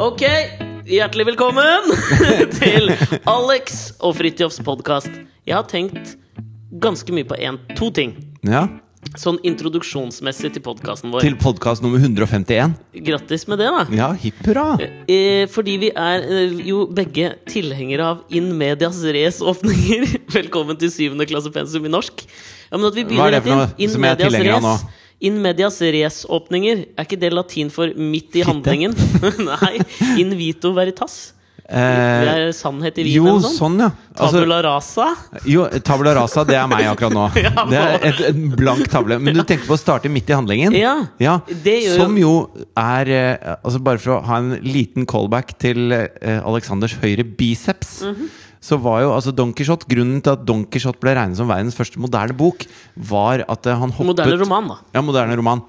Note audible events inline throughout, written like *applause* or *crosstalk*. Ok, hjertelig velkommen *laughs* til Alex og Fridtjofs podkast. Jeg har tenkt ganske mye på en, to ting. Ja. Sånn introduksjonsmessig til podkasten vår. Til podkast nummer 151. Grattis med det, da. Ja, hipp hurra! Eh, fordi vi er eh, jo begge tilhengere av in medias race åpninger. *laughs* Velkommen til syvende klasse pensum i norsk. Ja, men at vi Hva er begynner det for rett noe inn. In som jeg er medias tilhenger av res. nå? In medias res-åpninger. Er ikke det latin for midt i handlingen? *laughs* Nei. In vito veritas. Det Eh, er sannhet i vin, jo, eller noe sånt? sånn, ja. Altså, Eh, Tabula rasa? jo, tabla rasa, det er meg akkurat nå. *laughs* Ja, Det er et, en blank tavle. Men du tenker på å starte midt i handlingen? Ja. Ja, Det gjør Som jo er eh, altså Bare for å ha en liten callback til eh, Alexanders høyre biceps. Mhm. Så var jo altså Don Quijote Grunnen til at Don Quijote ble regnet som verdens første moderne bok, var at eh, han hoppet Moderne roman, da. Ja, moderne roman.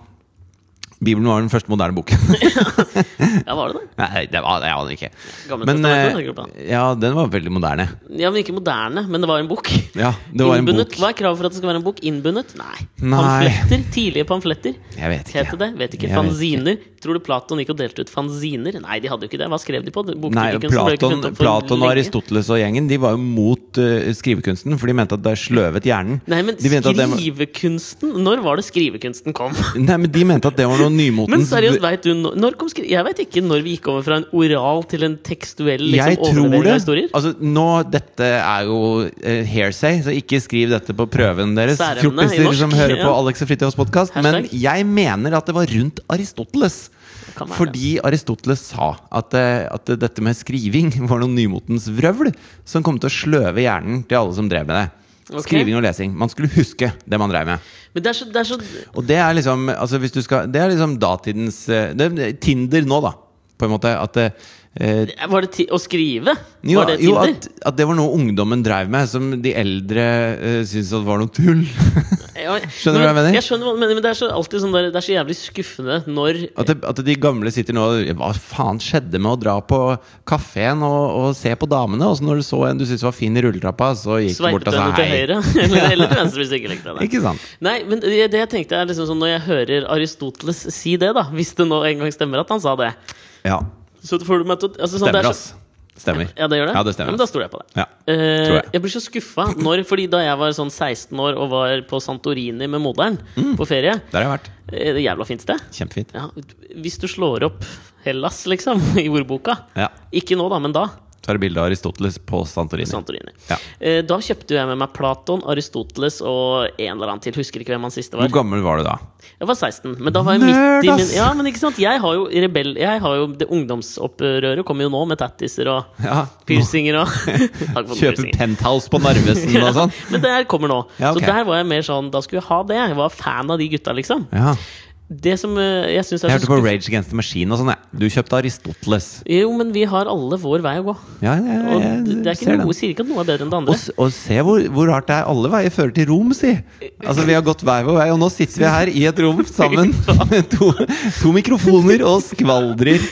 Bibelen var den første moderne boken. Ja, var det det? Nei, det var det jeg aner ikke. Gamle Men testamentet, tenker du på? eh, ja, den var veldig moderne. Ja, men ikke moderne, men det var en bok. *laughs* Ja, det var en Innbundet. bok. Hva er kravet for at det skal være en bok? Innbundet? Nei. Nei. Pamfletter? Tidlige pamfletter? Jeg vet Het det ikke. det? Vet ikke. Jeg vet Fanziner? Tror du Platon gikk og delte ut fanziner? Nei, de hadde jo ikke det. Hva skrev de på? Bokkritikken Nei, som ble Platon, funnet opp for Platon og lenge. Aristoteles og gjengen De var jo mot eh, skrivekunsten, for de mente at det sløvet hjernen. Nei, men de mente at det var- skrivekunsten Når var det skrivekunsten kom? *laughs* Nei, men de mente at det var noe Men nymotens seriøst, vet du når- når kom skri Jeg vet ikke når vi gikk over fra en oral til en tekstuell liksom, jeg tror overlevering det. av historier. Altså, nå, dette er jo eh, hearsay, så ikke skriv dette på prøven deres, Særemne i fjortiser norsk, som hører på ja. Alex og Fridtjofs podkast. Men Hashtag. jeg mener at det var rundt Aristoteles. Kan være Fordi Aristoteles sa at, eh, at dette med skriving *laughs* var noe nymotens vrøvl som kom til å sløve hjernen til alle som drev med det. Ok. Skriving og lesing. Man skulle huske det man drev med. Men det er så, det er så Og det er liksom, altså hvis du skal, det er liksom datidens eh, det, er Tinder nå, da. På en måte. At det, eh, Var det ti å skrive? jo, var det jo, Tinder? at, at det var noe ungdommen dreiv med, som de eldre uh, syntes at var noe tull. *laughs* Ja, Skjønner du hva jeg mener? Jeg skjønner, hva du mener, men det er så alltid sånn der, det er så jævlig skuffende når At, det, at de gamle sitter nå og Hva faen skjedde med å dra på kafeen og, og se på damene? Og så når du så en du syntes var fin i rulletrappa, så gikk du bort sveipet og sa henne til hei. høyre. *laughs* Eller, eller til venstre, hvis du ikke likte det. Ikke sant? Nei, men det det jeg tenkte er liksom sånn Når jeg hører Aristoteles si det, da hvis det nå en gang stemmer at han sa det Ja. Så får du meg til å altså, sånn, det Stemmer, er så- ass. Stemmer. Ja, det gjør det? Ja, det stemmer, men da ass. stoler jeg på det. Ja. Eh, Tror jeg. jeg. blir så skuffa når Fordi da jeg var sånn 16 år og var på Santorini med moderen Mm. på ferie Der har jeg vært. eh, Det jævla fint sted. Kjempefint. Ja, hvis du slår opp Hellas, liksom, *laughs* i ordboka Ja. Ikke nå, da, men da. Tar bilde av Aristoteles på Santorini. Santorini. Ja. Eh, Da kjøpte jo jeg med meg Platon, Aristoteles og en eller annen til. Husker ikke hvem han siste var. Hvor gammel var du da? Jeg var 16, men da var jeg Nerd, midt i min ass! Ja, men ikke sant? Jeg har jo rebell... Jeg har jo det ungdomsopprøret kommer jo nå, med tattiser og Ja. piercinger *laughs* og Takk for Kjøper piercinger. penthouse på Narvesen og *laughs* sånn? Men det her kommer nå. Ja, ok. Så der var jeg mer sånn Da skulle jeg ha det. Jeg var fan av de gutta, liksom. Ja. Det som eh, jeg syns er Jeg så hørte på skuff- Rage Against the Machine og sånn, jeg. Du kjøpte Aristoteles. Jo, men vi har alle vår vei å gå. Ja, jeg, Og jeg, det det er ser ikke noe, den. sier ikke at noe er bedre enn det Og, andre. *laughs* s- og se hvor, hvor rart det er. Alle veier fører til Rom, si! Altså, vi har gått hver vår vei, og nå sitter vi her i et rom *laughs* sammen med to, to mikrofoner og skvaldrer.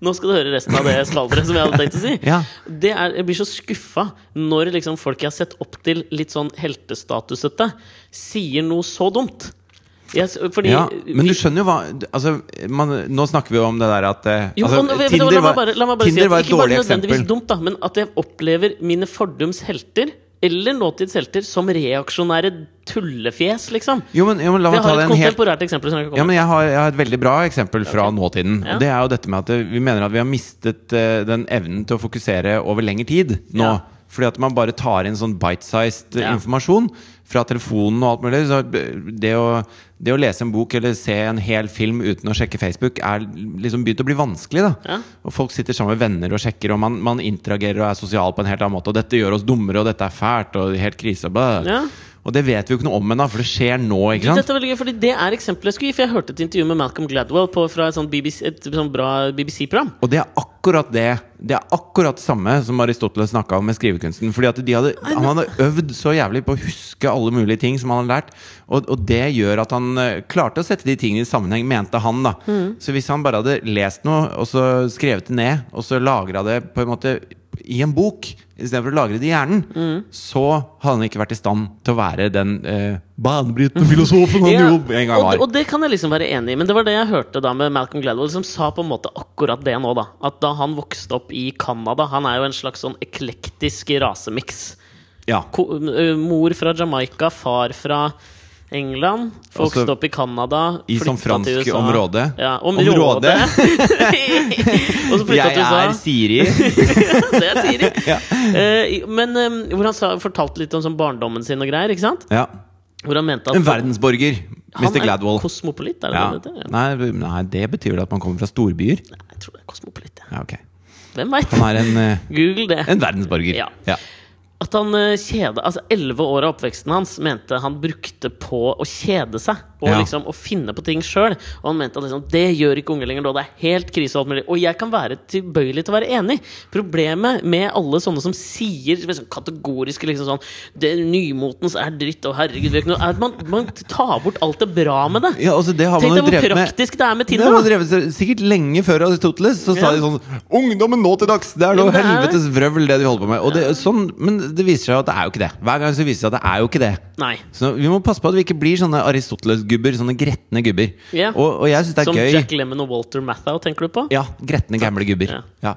Nå skal du høre resten av det skvaldret som jeg hadde tenkt å si. *laughs* Ja. Det er, jeg blir så skuffa når liksom folk jeg har sett opp til litt sånn heltestatusete, sier noe så dumt. Jeg, s- fordi Ja, men du skjønner jo hva Altså, man, nå snakker vi jo om det der at eh, jo, altså, og- vet du hva, la meg bare, la meg bare si Tinder at, var et Ikke bare dårlig nødvendigvis eksempel. dumt, da, men at jeg opplever mine fordums helter, eller nåtids helter, som reaksjonære tullefjes, liksom. Jo, men, jo, men la Jeg meg ta har et det en helt kontemporært eksempel. Som jeg kan Ja, komme. men jeg har, jeg har et veldig bra eksempel fra nåtiden. Ja. Og det er jo dette med at eh, vi mener at vi har mistet eh, den evnen til å fokusere over lengre tid nå. Ja. Fordi at man bare tar inn sånn bite-sized eh, Ja. informasjon fra telefonen og alt mulig. Så eh, det å, det å lese en bok eller se en hel film uten å sjekke Facebook er liksom begynt å bli vanskelig, da. Ja. Og folk sitter sammen med venner og sjekker, og man, man interagerer og er sosial på en helt annen måte. Og dette gjør oss dummere, og dette er fælt, og helt krise. blah. Ja. Og det vet vi jo ikke noe om ennå, for det skjer nå, Du, ikke sant? Dette er veldig gøy, fordi Det er eksempelet jeg skulle gi. For jeg hørte et intervju med Malcolm Gladwell på, fra et, sånt BBC, et sånt bra BBC-program. Og det er akkurat det Det er akkurat det samme som Aristoteles snakka om med skrivekunsten. Fordi at de hadde, Han hadde øvd så jævlig på å huske alle mulige ting som han hadde lært. Og, og det gjør at han eh, klarte å sette de tingene i sammenheng, mente han. Mm. da Så hvis han bare hadde lest noe, og så skrevet det ned, og så lagra det på en måte i en bok istedenfor å lagre det i hjernen, Mm. så hadde han ikke vært i stand til å være den eh, banebrytende *laughs* filosofen han jo en gang og, var. og det kan jeg liksom være enig i, men det var det jeg hørte da med Malcolm Gladwell, som sa på en måte akkurat det nå, da. At da han vokste opp i Canada Han er jo en slags sånn eklektisk rasemiks. Ja. Ko ø, mor fra Jamaica, far fra England. Vokste Altså, opp i Canada. i sånn flyttet til fransk USA. område. Ja, Område. område. *laughs* og så flytta Jeg til USA. er Siri. *laughs* det er Siri. Ja. Eh, men eh, hvor han sa, fortalte litt om sånn barndommen sin og greier. ikke sant? Ja. Hvor han mente at En verdensborger, Han Mr. Gladwell. er kosmopolit, er det Ja. det det heter? Nei, nei, det betyr vel at man kommer fra storbyer? Ja. Jeg tror det er kosmopolit. Ja. Ja, ok. Hvem veit? Han er en, eh, Google det. en verdensborger. Ja. Ja. At han eh, kjede Altså, elleve år av oppveksten hans mente han brukte på å kjede seg. Og Ja. liksom å finne på ting sjøl. Og han mente at liksom, det gjør ikke unger lenger nå. Det er helt krise. Og alt mulig Og jeg kan være tilbøyelig til å være enig. Problemet med alle sånne som sier liksom, kategoriske liksom sånn det Nymotens er dritt, og herregud det er ikke noe», er at man, man tar bort alt det bra med det. Ja, altså, det har Tenk man jo deg hvor drevet med praktisk det er med Det har Tinder. man da. drevet med sikkert lenge før Aristoteles. Så sa Ja. de sånn 'Ungdommen nå til dags!' Det er Ja, noe men det er det. helvetes vrøvl, det de holder på med. Og det, sånn, men det viser seg at det er jo ikke det. Hver gang så viser det seg at det er jo ikke det. Nei. Så vi må passe på at vi ikke blir sånne Aristoteles-gubber. Sånne gretne gubber. Ja. Og, og jeg syns det er Som gøy. Jack Lemmon og Walter Mathau, tenker du på? Ja, gretne, gamle gubber. Ja. Ja.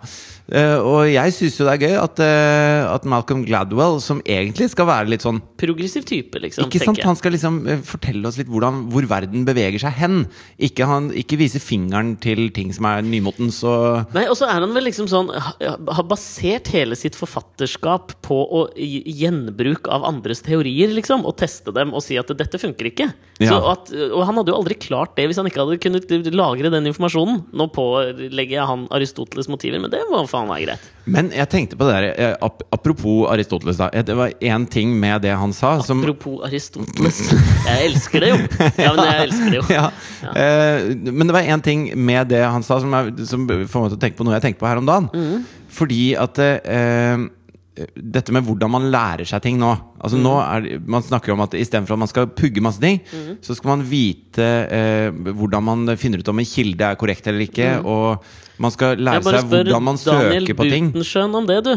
Eh, og jeg syns jo det er gøy at, eh, at Malcolm Gladwell, som egentlig skal være litt sånn Progressiv type, liksom. Ikke sant? tenker jeg. Han skal liksom eh, fortelle oss litt hvordan, hvor verden beveger seg hen. Ikke, han, ikke vise fingeren til ting som er nymotens og Nei, og så er han vel liksom sånn ha- Har basert hele sitt forfatterskap på å gi- gjenbruk av andres teorier, liksom. Og teste dem og si at 'dette funker ikke'. Så Ja. at, og han hadde jo aldri klart det hvis han ikke hadde kunnet lagre den informasjonen. Nå pålegger jeg han Aristoteles' motiver, men det må faen være greit. Men jeg tenkte på det der eh, ap Apropos Aristoteles, da. Eh, Det var én ting med det han sa som Apropos Aristoteles. Jeg elsker det jo! Ja, men jeg elsker det jo. *laughs* ja. Eh, men det var én ting med det han sa, som, er, som får meg til å tenke på noe jeg tenkte på her om dagen. Mm. Fordi at eh, dette med hvordan man lærer seg ting nå. Altså nå Mm. er, det- Man snakker jo om at istedenfor at man skal pugge masse ting, så skal man vite eh, hvordan man finner ut om en kilde er korrekt eller ikke. Og man skal Mm. Jeg lære bare seg spør hvordan man Daniel søker på ting. Butenschøn om det, du.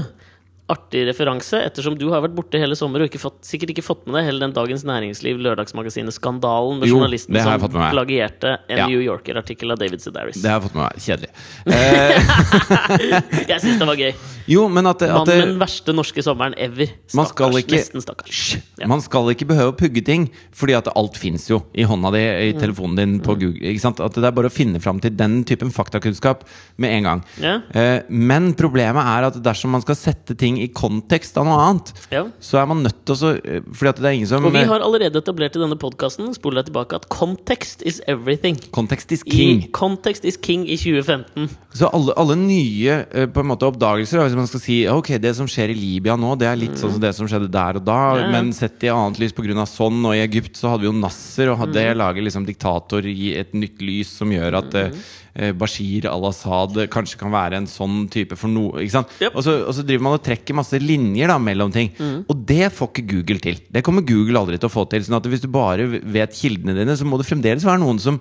Artig referanse, ettersom du har vært borte hele sommer og ikke fått, sikkert ikke fått med deg hele den Dagens Næringsliv, Lørdagsmagasinet-skandalen med Jo, journalisten det har jeg som fått med meg. plagierte en Ja. New Yorker-artikkel av David Sedaris. Det har jeg fått med meg. Kjedelig. Jeg syns det var gøy. Jo, men at, at Mannen med den verste norske sommeren ever. Man skal Stakkars. ikke- Nesten stakkars. Ja. Man skal ikke behøve å pugge ting, fordi at alt fins jo i hånda di, i Mm. telefonen din, på Google. Ikke sant? At det er bare å finne fram til den typen faktakunnskap med en gang. Ja. Eh, men problemet er at dersom man skal sette ting i kontekst av noe annet, Ja. så er man nødt til å så- eh, Fordi at det er ingen som Og vi har allerede etablert i denne podkasten at context is everything. eh, Kontekst is king. I Context is king i 2015. Så alle, alle nye eh, på en måte, oppdagelser, da, hvis man skal si ok, det som skjer i Libya nå, det er litt sånn som det som skjedde der og da, Mm. Ja, ja. men sett i annet lys pga. sånn, og i Egypt så hadde vi jo Nasser, og Mm. det lager liksom diktator i et nytt lys som gjør at eh, eh, Bashir al-Assad kanskje kan være en sånn type for noe. ikke sant? Yep. Mm. Og, så, og så driver man og trekker masse linjer da, mellom ting. Og det får ikke Google til. Det kommer Google aldri til å få til. sånn at hvis du bare vet kildene dine, så må det fremdeles være noen som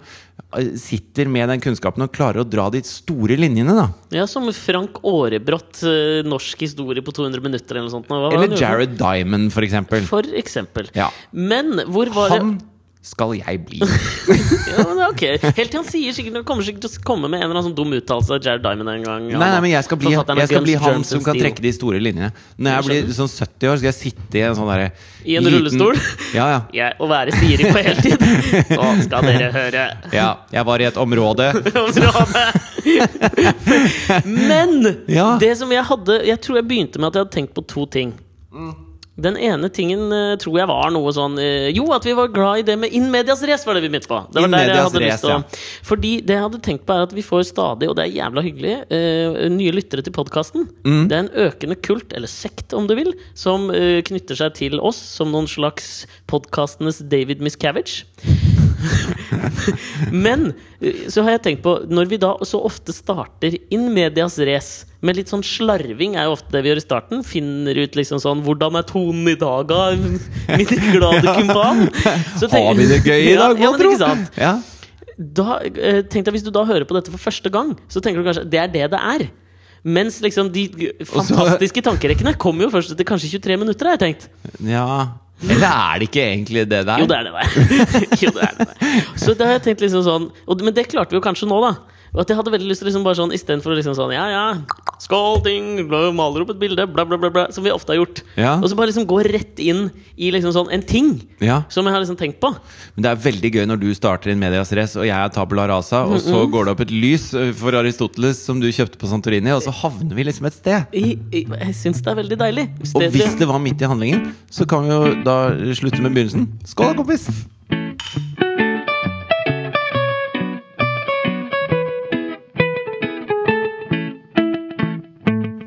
eh, sitter med den kunnskapen og klarer å dra de store linjene. da. Ja, som Frank Aarebrot, eh, norsk historie på 200 minutter eller noe sånt. Hva var Eller det? Jared Diamond, for eksempel. For eksempel. Ja. Men hvor var Han skal jeg bli. det ja, men ok. Helt til han sier sikkert Han kommer sikkert til å komme med en eller annen sånn dum uttalelse av Jared Diamond en gang. Nei, nei, men jeg skal bli, Forfatteren av jeg skal Guns, bli han Germs som and kan Steel. trekke de store linjene. Når jeg blir sånn 70 år, skal jeg sitte i en sånn derre I en liten- rullestol? Ja, ja. Ja, Å være Siri på heltid! Nå skal dere høre. Ja, jeg var i et område Men Ja. det som jeg hadde Jeg tror jeg begynte med at jeg hadde tenkt på to ting. Den ene tingen eh, tror jeg var noe sånn eh, Jo, at vi var glad i det med In medias race, var det vi begynte på. Det var In der jeg medias hadde res, lyst til å Fordi det jeg hadde tenkt på, er at vi får stadig, og det er jævla hyggelig, eh, nye lyttere til podkasten. Mm. Det er en økende kult, eller sekt om du vil, som eh, knytter seg til oss som noen slags podkastenes David Miscavige. Men eh, så har jeg tenkt på Når vi da så ofte starter in medias race med litt sånn slarving er jo ofte det vi gjør i starten. Finner ut liksom sånn 'Hvordan er tonen i dag, da, *laughs* min glade kumpan?' *laughs* Så tenk- Har vi det gøy i Ja, dag, ja, mon men tro? ikke sant? Ja. Da eh, tenkte jeg Hvis du da hører på dette for første gang, så tenker du kanskje det er det det er. Mens liksom de fantastiske tankerekkene kommer jo først etter kanskje 23 minutter, har jeg tenkt. Ja Eller er det ikke egentlig det der? Jo, det er *laughs* det der. jo, det er det der. Så da har jeg tenkt liksom sånn og, Men det klarte vi jo kanskje nå, da. Og at jeg hadde veldig lyst til liksom bare sånn istedenfor å liksom sånn Ja, ja, skål, ting, bla, maler opp et bilde, bla, bla, bla, bla, som vi ofte har gjort. Ja. Og så bare liksom gå rett inn i liksom sånn en ting Ja, som jeg har liksom tenkt på. Men det er veldig gøy når du starter en medias race, og jeg er tabula rasa, og så går det opp et lys eh, for Aristoteles som du kjøpte på Santorini, og så havner vi liksom et sted. I, i, jeg syns det er veldig deilig. Og Stedet- hvis det var midt i handlingen, så kan vi jo da slutte med begynnelsen. Skål, da, kompis!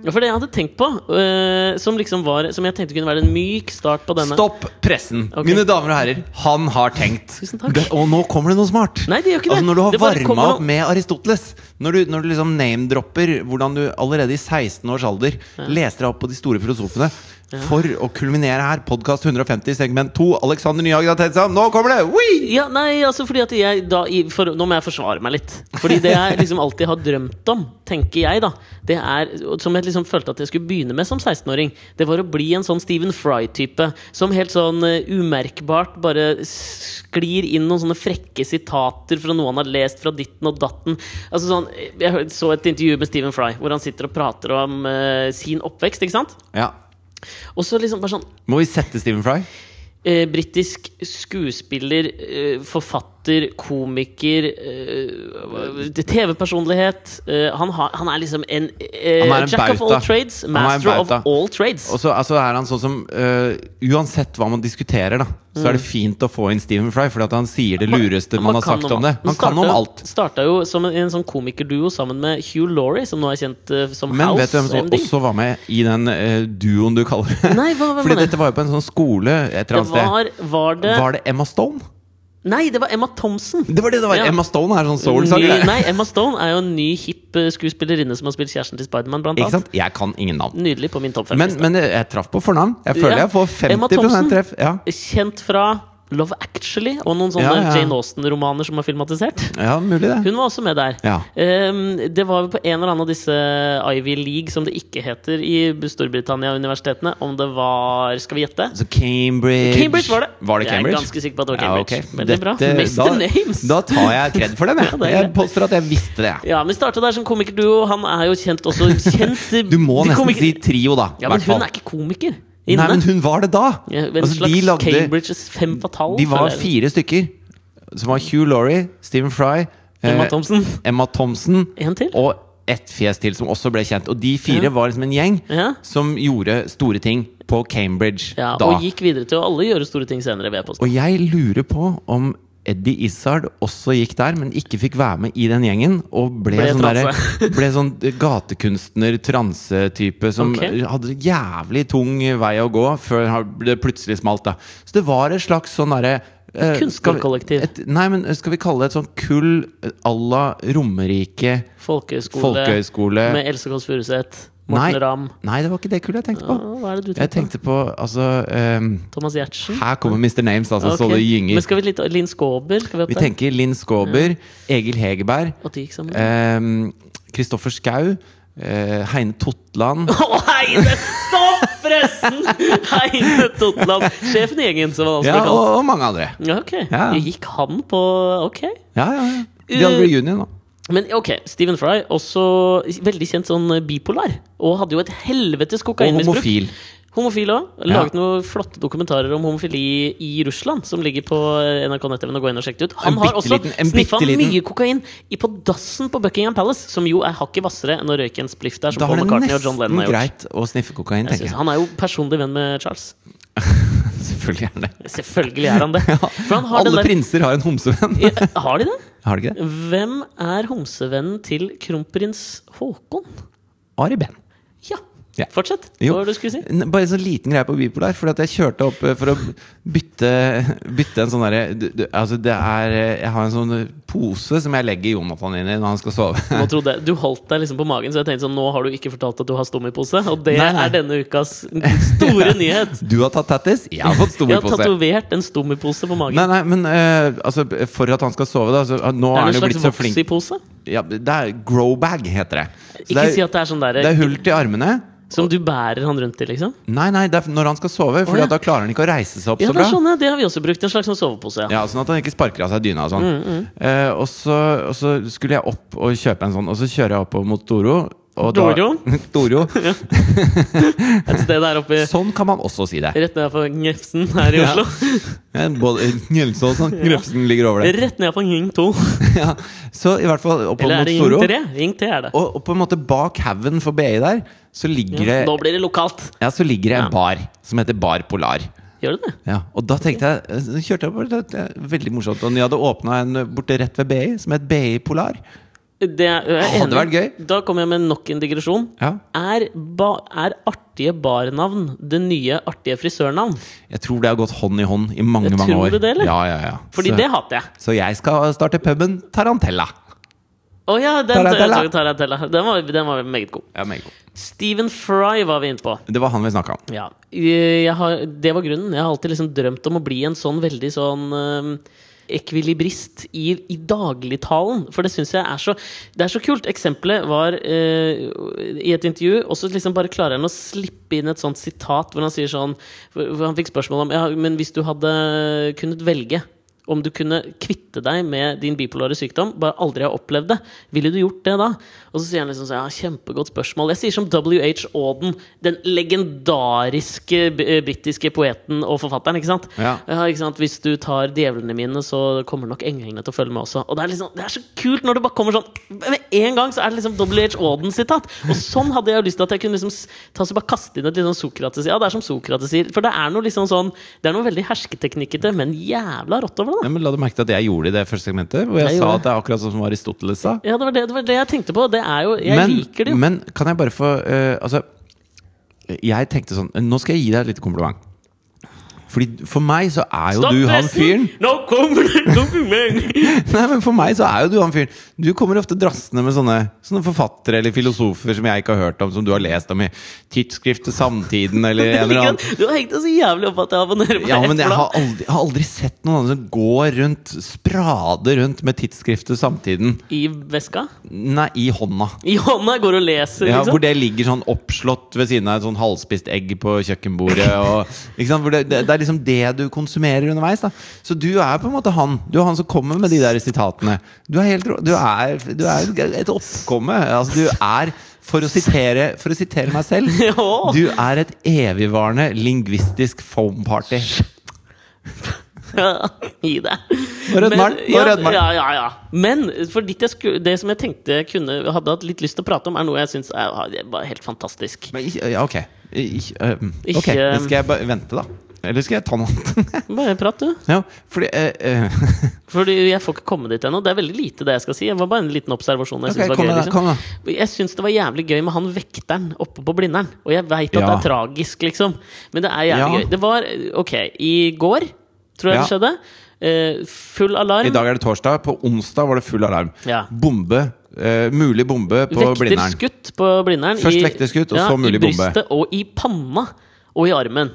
Ja, For det jeg hadde tenkt på, øh, som liksom var Som jeg tenkte kunne være en myk start på denne Stopp pressen! Ok. Mine damer og herrer, han har tenkt. Tusen takk. Det, og nå kommer det noe smart! Nei, det gjør ikke det. Altså Når du har Det bare varma kommer opp noe- med Aristoteles, når du, når du liksom name-dropper hvordan du allerede i 16 års alder leste deg opp på de store filosofene for å kulminere her, podkast 150 segment 2, Alexander Nyhagen har tenkt seg om, nå kommer det! Whee! Ja, nei, altså fordi at jeg da i, for, Nå må jeg forsvare meg litt. Fordi det jeg liksom alltid har drømt om, tenker jeg, da Det er, og Som jeg liksom følte at jeg skulle begynne med som 16-åring, det var å bli en sånn Stephen Fry-type. Som helt sånn eh, umerkbart bare sklir inn noen sånne frekke sitater fra noe han har lest fra ditten og datten. Altså sånn, Jeg hør- så et intervju med Stephen Fry hvor han sitter og prater om eh, sin oppvekst, ikke sant? Ja. Og så liksom bare sånn Må vi sette Stephen Fry? Eh, Britisk skuespiller, eh, forfatter, komiker eh, TV-personlighet. Eh, han, har- han er liksom en, eh, Han er en Jack of bauta. all trades, Han er en master of bauta. all trades. Og så altså, er han sånn som øh, Uansett hva man diskuterer, da, så er det fint å få inn Stephen Fry, fordi at han sier det lureste man, Mm. bare har kan sagt om det. Han starta kan om jo- alt. Starta jo som en, en sånn komikerduo sammen med Hugh Laurie, som nå er kjent eh, som Men House vet du hvem som MD. også var med i den eh, duoen du kaller det? Nei, hva- hvem Fordi var det? dette var jo på en sånn skole et eller det annet sted. var, eh, var det Var det Emma Stone? Nei, det var Emma Thompson! Det var det det var! Ja. Emma Stone er sånn Ny, soul-sanger. nei, Emma Stone er jo en ny, hipp eh, skuespillerinne som har spilt kjæresten til Spiderman, blant Ikke annet. sant? Jeg kan ingen navn. Nydelig på min topp fem. Men, men jeg jeg traff på fornavn. Jeg Ja. føler jeg får Emma 50 Thompson. treff. Ja. kjent fra Love Actually og noen sånne Ja, ja. Jane Austen-romaner som er filmatisert. ja, mulig det. Hun var også med der. Ja. Ehm, det var jo på en eller annen av disse Ivy League, som det ikke heter i Storbritannia-universitetene, om det var Skal vi gjette? Så Cambridge Cambridge var det. Var det Jeg er Cambridge? ganske sikker på at det var Ja, Cambridge. ok. Veldig bra. Dette- Mester Names! Da tar jeg kred for den, *laughs* jeg. Ja, det er jeg greit. påstår at jeg visste det. jeg. Ja, men starta der som komikerduo. Han er jo kjent *laughs* også kjent Du må de nesten komiker- si trio, da. Ja, men hun er ikke komiker inne. Nei, men hun var det da! Ja, en Altså, slags de lagde Cambridges fem fatale. De var føler jeg. fire stykker. Som var Hugh Laurie, Stephen Fry, eh, Emma Thompson. Emma Thompson En til. og ett fjes til som også ble kjent. Og de fire Ja. var liksom en gjeng Ja. som gjorde store ting på Cambridge Ja, da. og gikk videre til å alle gjøre store ting senere. Ved Og jeg lurer på om Eddie Izzard også gikk der, men ikke fikk være med i den gjengen. Og ble, Ble sånn, transe. derre- ble sånn gatekunstner-transetype som Ok. hadde jævlig tung vei å gå før han- det plutselig smalt. da Så det var et slags sånn derre eh, Kunstnerkollektiv. skal vi- et- Nei, men eh, skal vi kalle det et sånt kull eh, à la Romerike Folkehøyskole, folkehøyskole? med Else Kåss Furuseth, Nei. Morten Ramm Nei, det var ikke det kullet jeg tenkte Ja, på. Hva er det du Jeg tenker tenkte på altså ehm, på? Thomas Giertsen? Her kommer Mr. Names, altså, så Ok. det gynger. Men skal vi litt Linn Skåber? Skal vi opp Vi der? tenker Linn Skåber, Egil Hegerberg, At de gikk sammen? ehm, Kristoffer Schau, eh, Heine Totland Å, Heine! Stopp pressen! Heine Totland! Sjefen i gjengen, som han også ja, ble kalt. og, og mange andre. Ja, ok. Ja. Gikk han på Ok. Ja, ja, ja. De Eh, andre ble junior nå. Men ok, Stephen Fry, også veldig kjent sånn bipolar. Og hadde jo et helvetes Og kokainmisbruk. homofil. Homofil òg. Ja. Laget noen flotte dokumentarer om homofili i Russland, som ligger på NRK Nett-TV. Gå inn og sjekk det ut. Han En har også bitteliten- en sniffa bitteliten- mye kokain i på dassen på Buckingham Palace, som jo er hakket hvassere enn å røyke en spliff der, som Da er Paul det McCartney og John nesten Lennon har gjort. greit å sniffe kokain, Jeg tenker synes, jeg. han er jo personlig venn med Charles. Selvfølgelig er det det. Selvfølgelig er han *laughs* det. For han har, Alle den der... prinser har en homsevenn. Ja, har de det? Har de ikke det? Hvem er homsevennen til kronprins Haakon? Ari Behn. Ja, Ja. fortsett. Hva Jo. var det du skulle si? N- Bare en sånn liten greie på bipolar. Fordi at jeg kjørte opp eh, for å bytte, bytte en sånn derre du- du- Altså, det er eh, Jeg har en sånn pose som jeg legger Jonathan inn i når han skal sove. *laughs* Nå trodde jeg, Du holdt deg liksom på magen, så jeg tenkte sånn Nå har du ikke fortalt at du har stomipose, og det Nei, nei. er denne ukas *laughs* store nyhet. Du har tatt tattis, jeg har fått Jeg har stomipose. tatovert en stomipose på magen. Nei, nei, men eh, altså, for at han skal sove, da så, ah, Nå det er er han en jo blitt slags så flink. voksipose. Ja, det er growbag, heter det. Så Ikke det er, si at det er sånn der, det er hull til armene. som du bærer han rundt i, liksom. Nei, nei, det er når han skal sove, for ja. da klarer han ikke å reise seg opp Ja, så det, bra. er sånn, ja. det har vi også brukt. En slags sånn sovepose. Ja. Mm, Ja, Sånn at han ikke sparker av seg dyna og sånn. Eh, og, så, og så skulle jeg opp og kjøpe en sånn, og så kjører jeg oppover mot Doro. Og da- *laughs* Doro? Doro. Et sted der oppe *laughs* i- Sånn kan man også si *laughs* det. Rett ned for Gnefsen her i Ja. Oslo. Ja, Både Njølsås og Grøfsen ligger over det. Rett ned for Ring 2. Ja. Så i hvert fall oppover Eller er mot det Ring Doro. 3? Ring 3 er det. Og, og på en måte bak haugen for BI der, så ligger det Nå blir det lokalt. Ja, så ligger det en Ja. bar som heter Bar Polar. Gjør det det? Ja, og da tenkte jeg eh, så kjørte jeg på, det, det er Veldig morsomt. Og de hadde åpna en eh, borte rett ved BI som het BI Polar. Det er, jeg er Å, det enig. hadde vært Da kommer jeg med nok en digresjon. Ja. Er, ba, er artige barnavn det nye artige frisørnavn? Jeg tror det har gått hånd i hånd i mange Jeg mange tror år. det, eller? Ja, ja, ja. Fordi så, det hater jeg. så jeg skal starte puben Tarantella. Å ja, den Tarantella. tarantella. tarantella. Den var, den var meget god. Ja, meget god. Stephen Fry var vi inne på. Det var han vi snakka om. Ja, Eh, jeg har, det var grunnen. Jeg har alltid liksom drømt om å bli en sånn veldig sånn øhm, ekvilibrist i, i dagligtalen. For det syns jeg er så Det er så kult. Eksempelet var øh, i et intervju, og så liksom bare klarer han å slippe inn et sånt sitat hvor han sier sånn hvor hvor Han fikk spørsmål om ja, men hvis du hadde kunnet velge om du kunne kvitte deg med din bipolare sykdom, bare aldri har opplevd det, ville du gjort det da? Og så sier han liksom sånn, ja, kjempegodt spørsmål. Jeg sier som WH Auden, den legendariske b- eh, britiske poeten og forfatteren, ikke sant? Ja. ikke sant? Hvis du tar djevlene mine, så kommer nok englene til å følge med også. Og det er, liksom, det er så kult når det bare kommer sånn Med en gang så er det liksom WH Auden sitat! Og sånn hadde jeg jo lyst til at jeg kunne liksom s- ta så bare kaste inn et litt sånn Sokrates Ja, det er som Sokrates sier. For det er noe liksom sånn Det er noe veldig hersketeknikkete, men jævla rått over det, da. Ja, men la du merke til at jeg gjorde det i det første segmentet? Hvor jeg, Jeg sa gjorde at det er akkurat sånn som Aristoteles sa. Ja, det var det, det var det jeg tenkte på. Det er jo, jeg liker det jo. men kan jeg bare få eh, Altså, jeg tenkte sånn Nå skal jeg gi deg et lite kompliment. Fordi For meg så er jo du han fyren Nå kommer det dokument! *laughs* Nei, men For meg så er jo du han fyren. Du kommer ofte drassende med sånne, sånne forfattere eller filosofer som jeg ikke har hørt om, som du har lest om i tidsskriftet Samtiden eller en *laughs* eller annen. Du har hengt deg så jævlig opp at jeg abonnerer på Ja, men ett jeg blad. har aldri, jeg har aldri sett noen andre som går rundt, sprader rundt med tidsskriftet Samtiden I veska? Nei, i hånda. I hånda går og leser, Ja, hvor liksom. det ligger sånn oppslått ved siden av et sånn halvspist egg på kjøkkenbordet. Og, ikke sant? Hvor det, det, det er liksom det du konsumerer underveis. Da. Så du er på en måte han. Du er han som kommer med de der sitatene. Du er, helt, rå- du er, du er et oppkomme. Altså, du er, for å sitere, for å sitere meg selv *laughs* Ja. Du er et evigvarende lingvistisk foam party. *laughs* Gi deg. Nå rødmer Men- den, nå ja, rødmer den. Ja, ja, ja. Men for ditt jeg sku, det som jeg tenkte jeg kunne, hadde hatt litt lyst til å prate om, er noe jeg syns er ah, det er bare helt fantastisk. Men ikke, ja, ok. Ikke, øhm, ok, Ikke, øhm. Skal jeg bare vente, da? Eller skal jeg ta noe annet? *laughs* Bare prat, du. ja, fordi eh, eh, Fordi jeg får ikke komme dit ennå. Det er veldig lite det jeg skal si. Det var bare en liten observasjon. Jeg Ok, synes var kom gøy, med det, liksom. kom med Jeg syns det var jævlig gøy med han vekteren oppe på Blindern. Og jeg veit at det Ja. er tragisk, liksom. Men det er jævlig Ja. gøy. Det var Ok, i går tror jeg det Ja. skjedde. Eh, full alarm. I dag er det torsdag. På onsdag var det full alarm. Ja. Bombe. eh, mulig bombe på vekter Blindern. skutt på Blindern. Først i- vekterskutt, og så I mulig bombe. brystet og i panna og i armen.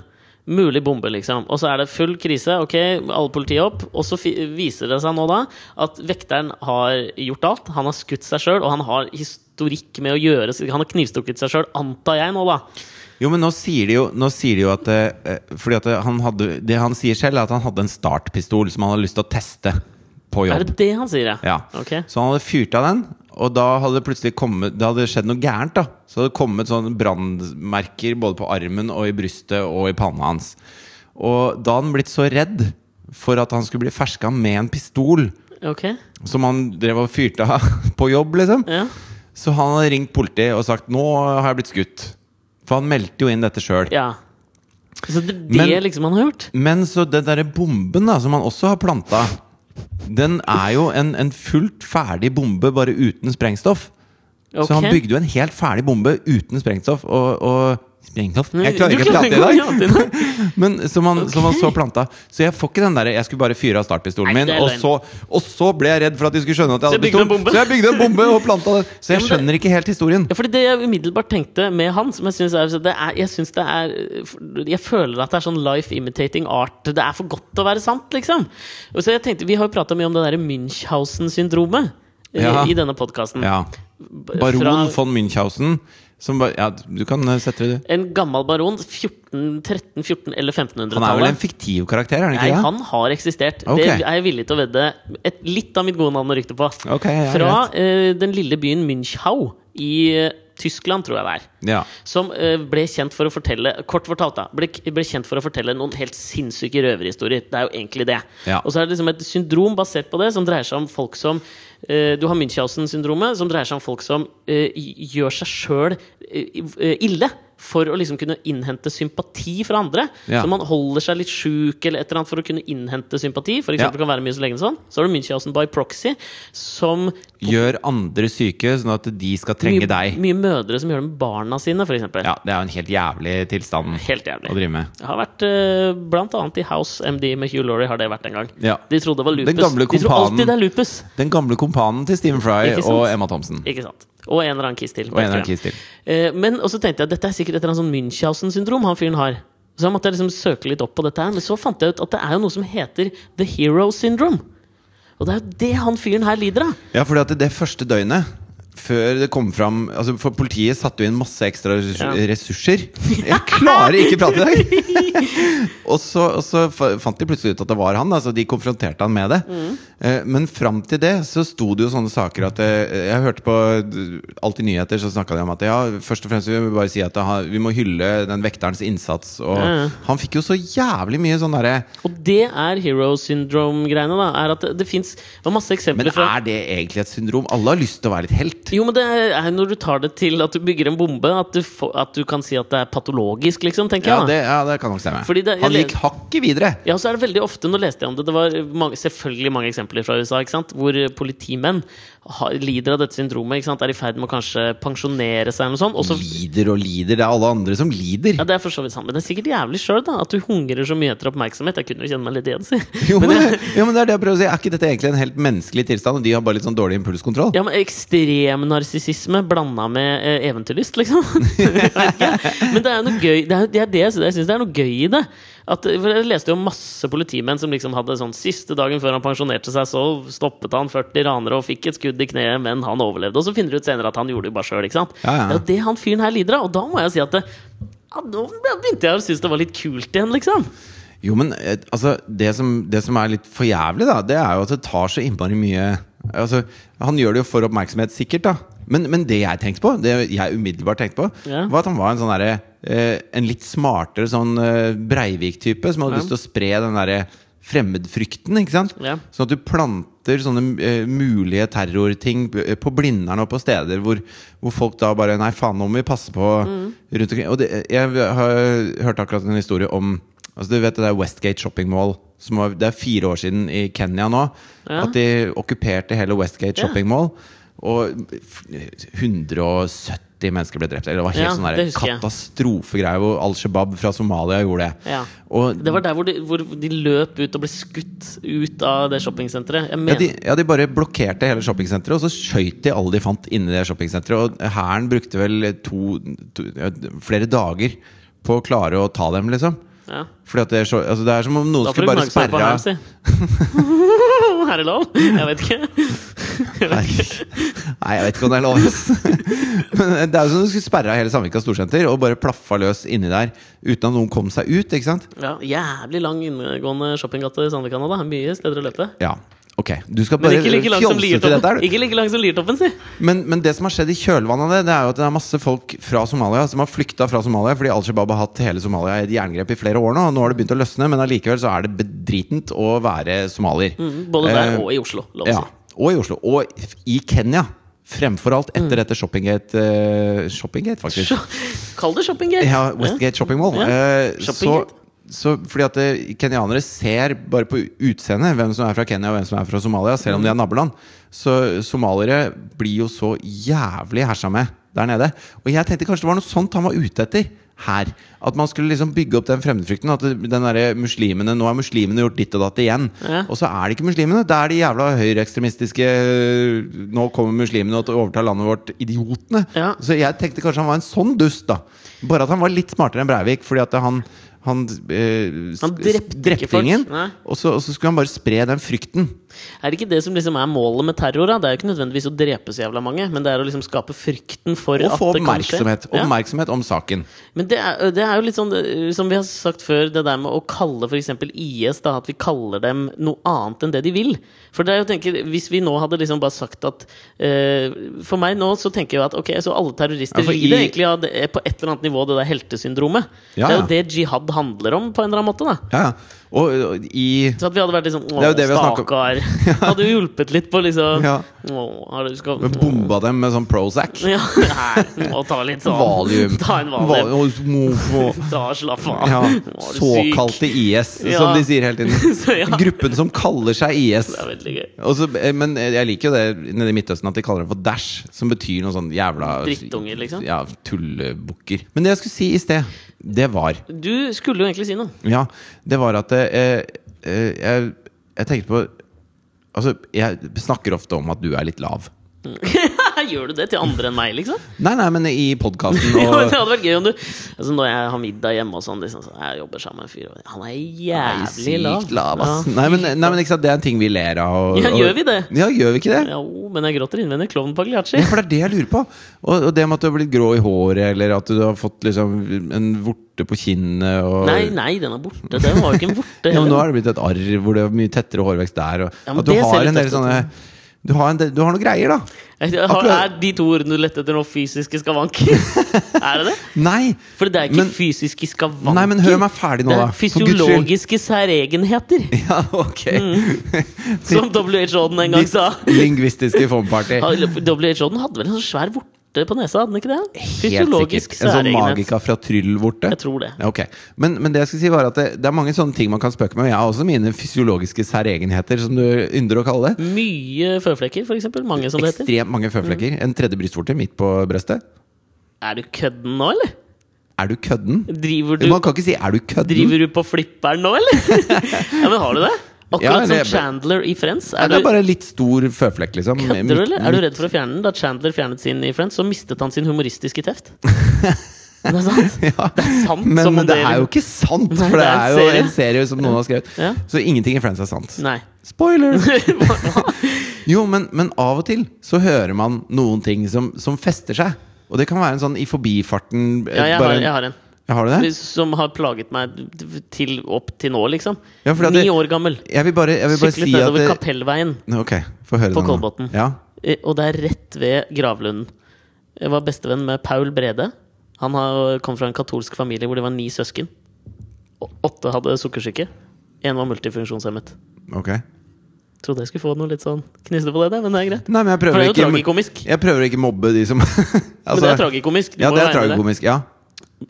Mulig bombe, liksom. Og så er det full krise. Ok, alle politiet opp. Og så fi- viser det seg nå da at vekteren har gjort alt. Han har skutt seg sjøl, og han har historikk med å gjøre Han har knivstukket seg sjøl, antar jeg nå, da. Jo, men nå sier de jo, nå sier de jo at eh, Fordi at han hadde Det han sier selv, er at han hadde en startpistol som han hadde lyst til å teste på Er jobb. det det han sier, ja? Ja. Ok. Så han hadde fyrt av den, og da hadde det plutselig kommet Det hadde skjedd noe gærent. da Så det hadde kommet sånne brannmerker både på armen og i brystet og i panna hans. Og da hadde han blitt så redd for at han skulle bli ferska med en pistol ok. som han drev og fyrte av *laughs* på jobb, liksom. Ja. Så han hadde ringt politiet og sagt 'nå har jeg blitt skutt'. For han meldte jo inn dette sjøl. ja. Så det er det Men- liksom han har gjort? Men så den derre bomben da, som han også har planta, den er jo en, en fullt ferdig bombe, bare uten sprengstoff. Ok. Så han bygde jo en helt ferdig bombe uten sprengstoff. Og, og Sprenkelft? Nei, Jeg klarer du ikke å prate i dag! ikke å prate i dag. *laughs* Men som han, som han så planta. Så jeg får ikke den der Jeg skulle bare fyre av startpistolen Nei, min, det er og løgn. så, og så ble jeg redd for at de skulle skjønne at Så jeg hadde jeg bygde en pistol. bombe. Så jeg bygde en bombe og planta den. Så jeg Ja, men skjønner ikke helt historien. Ja, fordi det jeg umiddelbart tenkte med han, som jeg syns er, så det er Jeg synes det er Jeg føler at det er sånn life imitating art. Det er for godt til å være sant, liksom. Og så jeg tenkte, Vi har jo prata mye om det derre Münchhausen-syndromet eh, Ja. i denne podkasten. Ja. Baron von Münchhausen som ba, Ja, du kan eh, sette det En gammel baron. 14, 13, 14 eller 1500-tallet. Han er vel en fiktiv karakter, er han ikke Nei, det? han har eksistert. Ok. Det er jeg villig til å vedde et, litt av mitt gode navn og rykte på. Ok, ja, Fra eh, den lille byen Münchau i eh, Tyskland, tror jeg det er. Ja. Som eh, ble kjent for å fortelle Kort fortalt da ble, ble kjent for å fortelle noen helt sinnssyke røverhistorier. Det er jo egentlig det. Ja. Og så er det liksom et syndrom basert på det, som dreier seg om folk som eh, Du har Münchhausen-syndromet, som dreier seg om folk som eh, gjør seg sjøl eh, ille. For å liksom kunne innhente sympati fra andre. Ja. Så man holder seg litt sjuk eller et eller annet for å kunne innhente sympati. For Ja. eksempel kan være mye så lenge sånn. Så har du Münchhausen by proxy, som Gjør andre syke, sånn at de skal trenge mye, deg. mye mødre som gjør det med barna sine, for eksempel. Ja, det er jo en helt jævlig tilstand Helt å jævlig. drive med. Det har vært eh, blant annet i House MD med Hugh Laurie har det vært en gang. Ja. De trodde det var lupus. Den gamle de tror kompanen. alltid det er lupus. Den gamle kompanen til Stephen Fry Ikke sant? og Emma Thompson. Ikke sant. Og en eller annen kiss til. på Og en eller annen Instagram. kiss Eh, til. men og så tenkte jeg at dette er sikkert et eller annet sånn Munchhausen-syndrom han fyren har. Så jeg måtte jeg liksom søke litt opp på dette her. Men så fant jeg ut at det er jo noe som heter The Hero Syndrome. Og det er jo det han fyren her lider av. Ja, fordi at det, det første døgnet før det kom fram altså For politiet satte jo inn masse ekstra ressurs- Ja. *laughs* ressurser. Jeg klarer ikke prate i dag! *laughs* og, så, og så fa- fant de plutselig ut at det var han. Altså de konfronterte han med det. Mm. Eh, Men fram til det så sto det jo sånne saker at eh, Jeg hørte på eh, Alltid nyheter, så snakka de om at ja, først og fremst vil vi bare si at det har- vi må hylle den vekterens innsats. Og Ja. han fikk jo så jævlig mye sånn derre Og det er hero syndrome-greiene. da Er at Det, det fins masse eksempler Men fra er det egentlig et syndrom? Alle har lyst til å være litt helt. Jo, men det er når du tar det til at du bygger en bombe, at du, får- at du kan si at det er patologisk, liksom, tenker Ja, jeg. da. det, ja, det kan nok stemme. Fordi det- han jeg- gikk hakket videre. Ja, så er det veldig ofte, nå leste jeg om det, det var mange, selvfølgelig mange eksempler fra USA, ikke sant? hvor eh, politimenn har, lider av dette syndromet, ikke sant? er i ferd med å kanskje pensjonere seg eller noe sånt. Og så, Lider og lider. Det er alle andre som lider. ja, det er for så vidt sant, men det er sikkert jævlig sjøl, da, at du hungrer så mye etter oppmerksomhet. Jeg kunne jo kjenne meg litt igjen, si. Jo, men, *laughs* jo, men det Er det jeg prøver å si Er ikke dette egentlig en helt menneskelig tilstand? Og de har bare litt sånn dårlig impulskontroll? Ja, men ekstrem narsissisme blanda med eh, eventyrlyst, liksom. *laughs* Jeg vet ikke. men det er jo noe gøy Det er det, er det jeg sy- jeg syns det er noe gøy i det. At, eh, for jeg leste jo masse politimenn som liksom hadde sånn siste dagen før han pensjonerte seg, så stoppet han 40 ranere og fikk et skudd i kneet, men han overlevde. Og så finner du ut senere at han gjorde det jo bare sjøl, ikke sant. Ja, ja. Det er jo det han fyren her lider av. Og da må jeg si at det, ja, nå begynte jeg å synes det var litt kult igjen, liksom. Jo, men eh, altså det som, det som er litt for jævlig, da, det er jo at det tar så innmari mye Altså, Han gjør det jo for oppmerksomhet, sikkert, da. Men, men det jeg tenkte på, det jeg umiddelbart tenkte på, Ja. var at han var en sånn derre eh, En litt smartere sånn eh, Breivik-type som hadde Ja. lyst til å spre den derre fremmedfrykten, ikke sant? Ja. Sånn at du planter sånne eh, mulige terrorting eh, på Blindern og på steder hvor, hvor folk da bare Nei, faen, nå må vi passe på Mm. rundt omkring. Og det, jeg har hørt akkurat en historie om Altså Du vet det der Westgate Shopping Mall. Som var, det er fire år siden i Kenya nå. Ja. At de okkuperte hele Westgate Ja. Shopping Mall. Og f- 170 mennesker ble drept. Eller det var helt Ja, sånn det der husker jeg. katastrofegreie hvor Al Shabaab fra Somalia gjorde det. Ja. Og Det var der hvor de, hvor de løp ut og ble skutt ut av det shoppingsenteret. Jeg Ja mener de, ja, de bare blokkerte hele shoppingsenteret, og så skøyt de alle de fant inni det shoppingsenteret. Og hæren brukte vel to, to, ja, flere dager på å klare å ta dem, liksom. Ja. Fordi at det, er så- altså det er som om noen Da får skulle du bare gnage seg på sperre her, av si. *laughs* Er det lov? Jeg vet ikke. *laughs* Nei, jeg vet ikke om det er lov. *laughs* ass. Men det er jo som om du skulle sperre av hele Sandvika storsenter og bare plaffa løs inni der uten at noen kom seg ut, ikke sant? Ja, jævlig lang inngående shoppinggate i Sandvika nå, da. Mye steder å løpe. Ja. Ok, du skal Men bare ikke like lang som fjolse til dette her, Liertoppen, du. ikke like lang som Liertoppen si! Men, men det som har skjedd i kjølvannet av det, det er jo at det er masse folk fra Somalia som har flykta fra Somalia fordi Al Shabaab har hatt hele Somalia i et jerngrep i flere år nå. Og nå har det begynt å løsne, men allikevel så er det bedritent å være somalier. Mm, Både der Eh, og i Oslo, lov å Ja, si. *laughs* og i Oslo. Og i Kenya. Fremfor alt etter dette Shoppinggate eh, Shoppinggate, faktisk. Sjo- Kall det shoppinggate! Ja, Westgate Shopping Mall. Ja. Eh, så, Shoppinggate. så fordi at eh, kenyanere ser bare på utseendet hvem som er fra Kenya og hvem som er fra Somalia, selv om de er naboland. Så somaliere blir jo så jævlig hersa med der nede. Og jeg tenkte kanskje det var noe sånt han var ute etter. her. At man skulle liksom bygge opp den fremmedfrykten. At det- den derre muslimene Nå har muslimene gjort ditt og datt igjen. Ja. Og så er det ikke muslimene. Det er de jævla høyreekstremistiske øh, Nå kommer muslimene og overtar landet vårt. Idiotene. Ja. Så jeg tenkte kanskje han var en sånn dust, da. Bare at han var litt smartere enn Breivik. Fordi at han han, øh, Han drepte ikke folk. ingen, Nei. og så, og så skulle han bare spre den frykten. Er det ikke det som liksom er målet med terror? Da? Det er jo ikke nødvendigvis å drepe så jævla mange, men det er å liksom skape frykten for Og at få det kan skje. oppmerksomhet, Ja. oppmerksomhet om saken. Men det er, det er jo litt sånn, eh, som vi har sagt før, det der med å kalle f.eks. IS da, At vi kaller dem noe annet enn det de vil. For det er jo, tenker, Hvis vi nå hadde liksom bare sagt at eh, For meg nå så tenker jeg at ok, så alle terrorister Ja, for lider i- egentlig av det, er på et eller annet nivå det der heltesyndromet. Det Ja, er ja. jo det jihad handler om, på en eller annen måte. da Ja, ja. Og, og i så at vi hadde vært liksom Å, Det er jo det vi har snakket stakkar. *laughs* Hadde jo hjulpet litt på liksom Ja. Å, har du skal Bomba dem med sånn Prozac. *laughs* Ja, nei, du må ta litt sånn Valium. *laughs* Ta en Val- valium. og må *laughs* få- Ta, slapp av. Ja, Å, er du syk? såkalte IS, Ja. som de sier hele tiden. *laughs* Så ja, det Gruppen som kaller seg IS. er veldig gøy. Og så- eh, men jeg liker jo det nede i Midtøsten at de kaller det for Dash, som betyr noe sånn jævla Drittunger, liksom. Ja, tullebukker. Men det jeg skulle si i sted, det var Du skulle jo egentlig si noe. Ja, det var at eh, eh, jeg, jeg tenkte på Altså, jeg snakker ofte om at du er litt lav. *laughs* Gjør du det til andre enn meg, *laughs* liksom? *laughs* Nei, nei, men i podkasten Ja, men og det hadde vært gøy om du altså, Når jeg har middag hjemme og sånn, liksom, så jeg jobber sammen med en fyr og Han er Nei, jævlig lav. sykt lav, ass. Ja. Nei, men, nei, men ikke sant, det er en ting vi ler av. Og, Ja, og- gjør vi det? Ja, gjør vi ikke det? Jo, men jeg gråter innvendig. Klovn *laughs* Pagliacci. Ja, for det er det jeg lurer på. Og, og det med at du har blitt grå i håret, eller at du har fått liksom en vorte på kinnet og Nei, nei, den er borte. Den var jo ikke en vorte. *laughs* Ja, men nå heller. har det blitt et arr hvor det er mye tettere hårvekst der. Og, Ja, men at du det ser har litt en del tøft ut. sånne du har, en del, du har noe greier, da. Jeg har, Akkurat- er de to ordene du lette etter nå, fysiske *laughs* skavanker? er det det? Nei! For det er ikke Men- fysiske skavanker. Nei, men hør meg ferdig nå, det da. er For Guds skyld. fysiologiske særegenheter, *laughs* Ja, ok. som WHO-en en Mm, gang Ditt sa. lingvistiske form-party. *laughs* WHO-en hadde vel en sånn svær vorte på nesa, hadde den ikke det? Helt Fysiologisk sikkert. En sånn særegenhet. magika fra Tryll-vorte. Jeg tror det. Ja, Ok, men, men det jeg skulle si var at det, det er mange sånne ting man kan spøke med. og Jeg har også mine fysiologiske særegenheter, som du ynder å kalle det. Mye føflekker, for eksempel. Mange, som det heter. Mm. Ekstremt mange føflekker. En tredje brystvorte midt på brøstet. Er du kødden nå, eller? Er du kødden? Driver du, Man kan ikke si 'er du kødden'? driver du på flipperen nå, *laughs* eller? ja, men har du det? Ja, Akkurat det- som Chandler i Friends. Nei, Er det er du, bare litt stor føflekk, liksom. kødder du, eller? Er du redd for å fjerne den? Da Chandler fjernet sin i Friends, så mistet han sin humoristiske *laughs* teft. Men Det er sant. *laughs* Ja. Det er sant. Men som om det er jo liksom- ikke sant! Nei, For det er jo en serie som noen Ja. har skrevet. Så ingenting i Friends er sant. Nei. *laughs* Spoiler! Hva? Jo, men, men av og til så hører man noen ting som, som fester seg. Og det kan være en sånn i forbifarten eh, Ja, jeg bare har, en- jeg har en. Ja, har du det? Som har plaget meg til, opp til nå, liksom. Ja, fordi at Ni det- år gammel. Jeg vil bare, jeg vil bare Syklet si at nedover det, Kapellveien, Nå, Ok, få høre På den nå. Kolbotn. Ja. eh, og det er rett ved gravlunden. Jeg var bestevenn med Paul Brede. Han har- kom fra en katolsk familie hvor det var ni søsken. Og Åtte hadde sukkersyke. Én var multifunksjonshemmet. Ok. Trodde jeg skulle få noe litt sånn kniste på det, der, men det er greit. Nei, men jeg For prøver det er jo ikke tragikomisk. Jeg prøver ikke mobbe de som *laughs* Men Altså, det er tragikomisk. Du Ja, må det jo regne er med det. tragikomisk. Ja.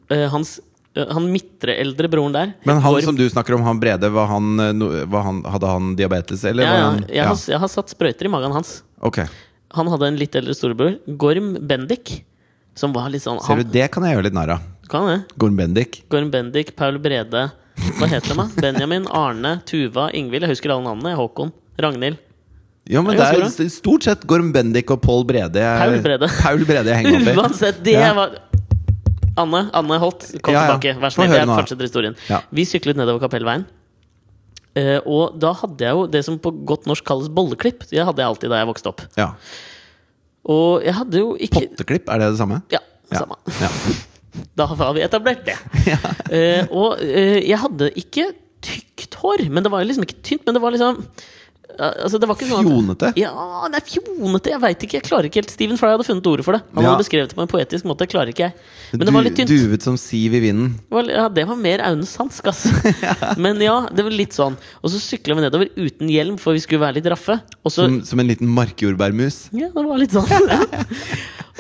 Eh, Hans, eh, han midtre eldre broren der Men han går- som du snakker om, han Brede, var han, eh, no- var han, hadde han diabetes, eller? ja, var ja, han, jeg, har, jeg har satt sprøyter i magen hans. Ok. Han hadde en litt eldre storebror, Gorm Bendik, som var litt sånn Ser han, du, det kan jeg gjøre litt narr av. Kan det? Gorm Bendik. Gorm Bendik, Paul Brede Hva heter de? *laughs* da? Benjamin, Arne, Tuva, Ingvild. Jeg husker alle navnene. Håkon. Ragnhild. Ja, men Det det er er ganske st- stort sett Gorm Bendik og Pål Brede. jeg- Paul Brede. *laughs* Paul Brede jeg henger opp i. Uansett, det Ja. var Anne, Anne Holt, kom Ja, ja. tilbake. Vær så Få snill. høre Jeg nå, da. fortsetter historien. Ja. Vi syklet nedover Kapellveien. eh, og da hadde jeg jo det som på godt norsk kalles bolleklipp. Det hadde jeg alltid da jeg vokste opp. Ja. Og jeg hadde jo ikke Potteklipp, er det det samme? Ja, Ja. samme. Ja. Da har vi etablert *laughs* det. Eh, og eh, jeg hadde ikke tykt hår, men det var jo liksom ikke tynt. Men det var liksom eh, altså det var ikke sånn at, Fjonete? Ja, det er fjonete. Jeg veit ikke. Jeg klarer ikke helt Steven Fry hadde funnet ordet for det. Han Ja. hadde beskrevet det på en poetisk måte. Jeg klarer ikke jeg. *laughs* Men det var litt tynt. Du, duvet som siv i vinden. Det var- Ja, det var mer Aune Sandsk, *laughs* ass. Men ja, det var litt sånn. Og så sykla vi nedover uten hjelm, for vi skulle være litt raffe. Og så Som, som en liten markjordbærmus. ja, det var litt sånn.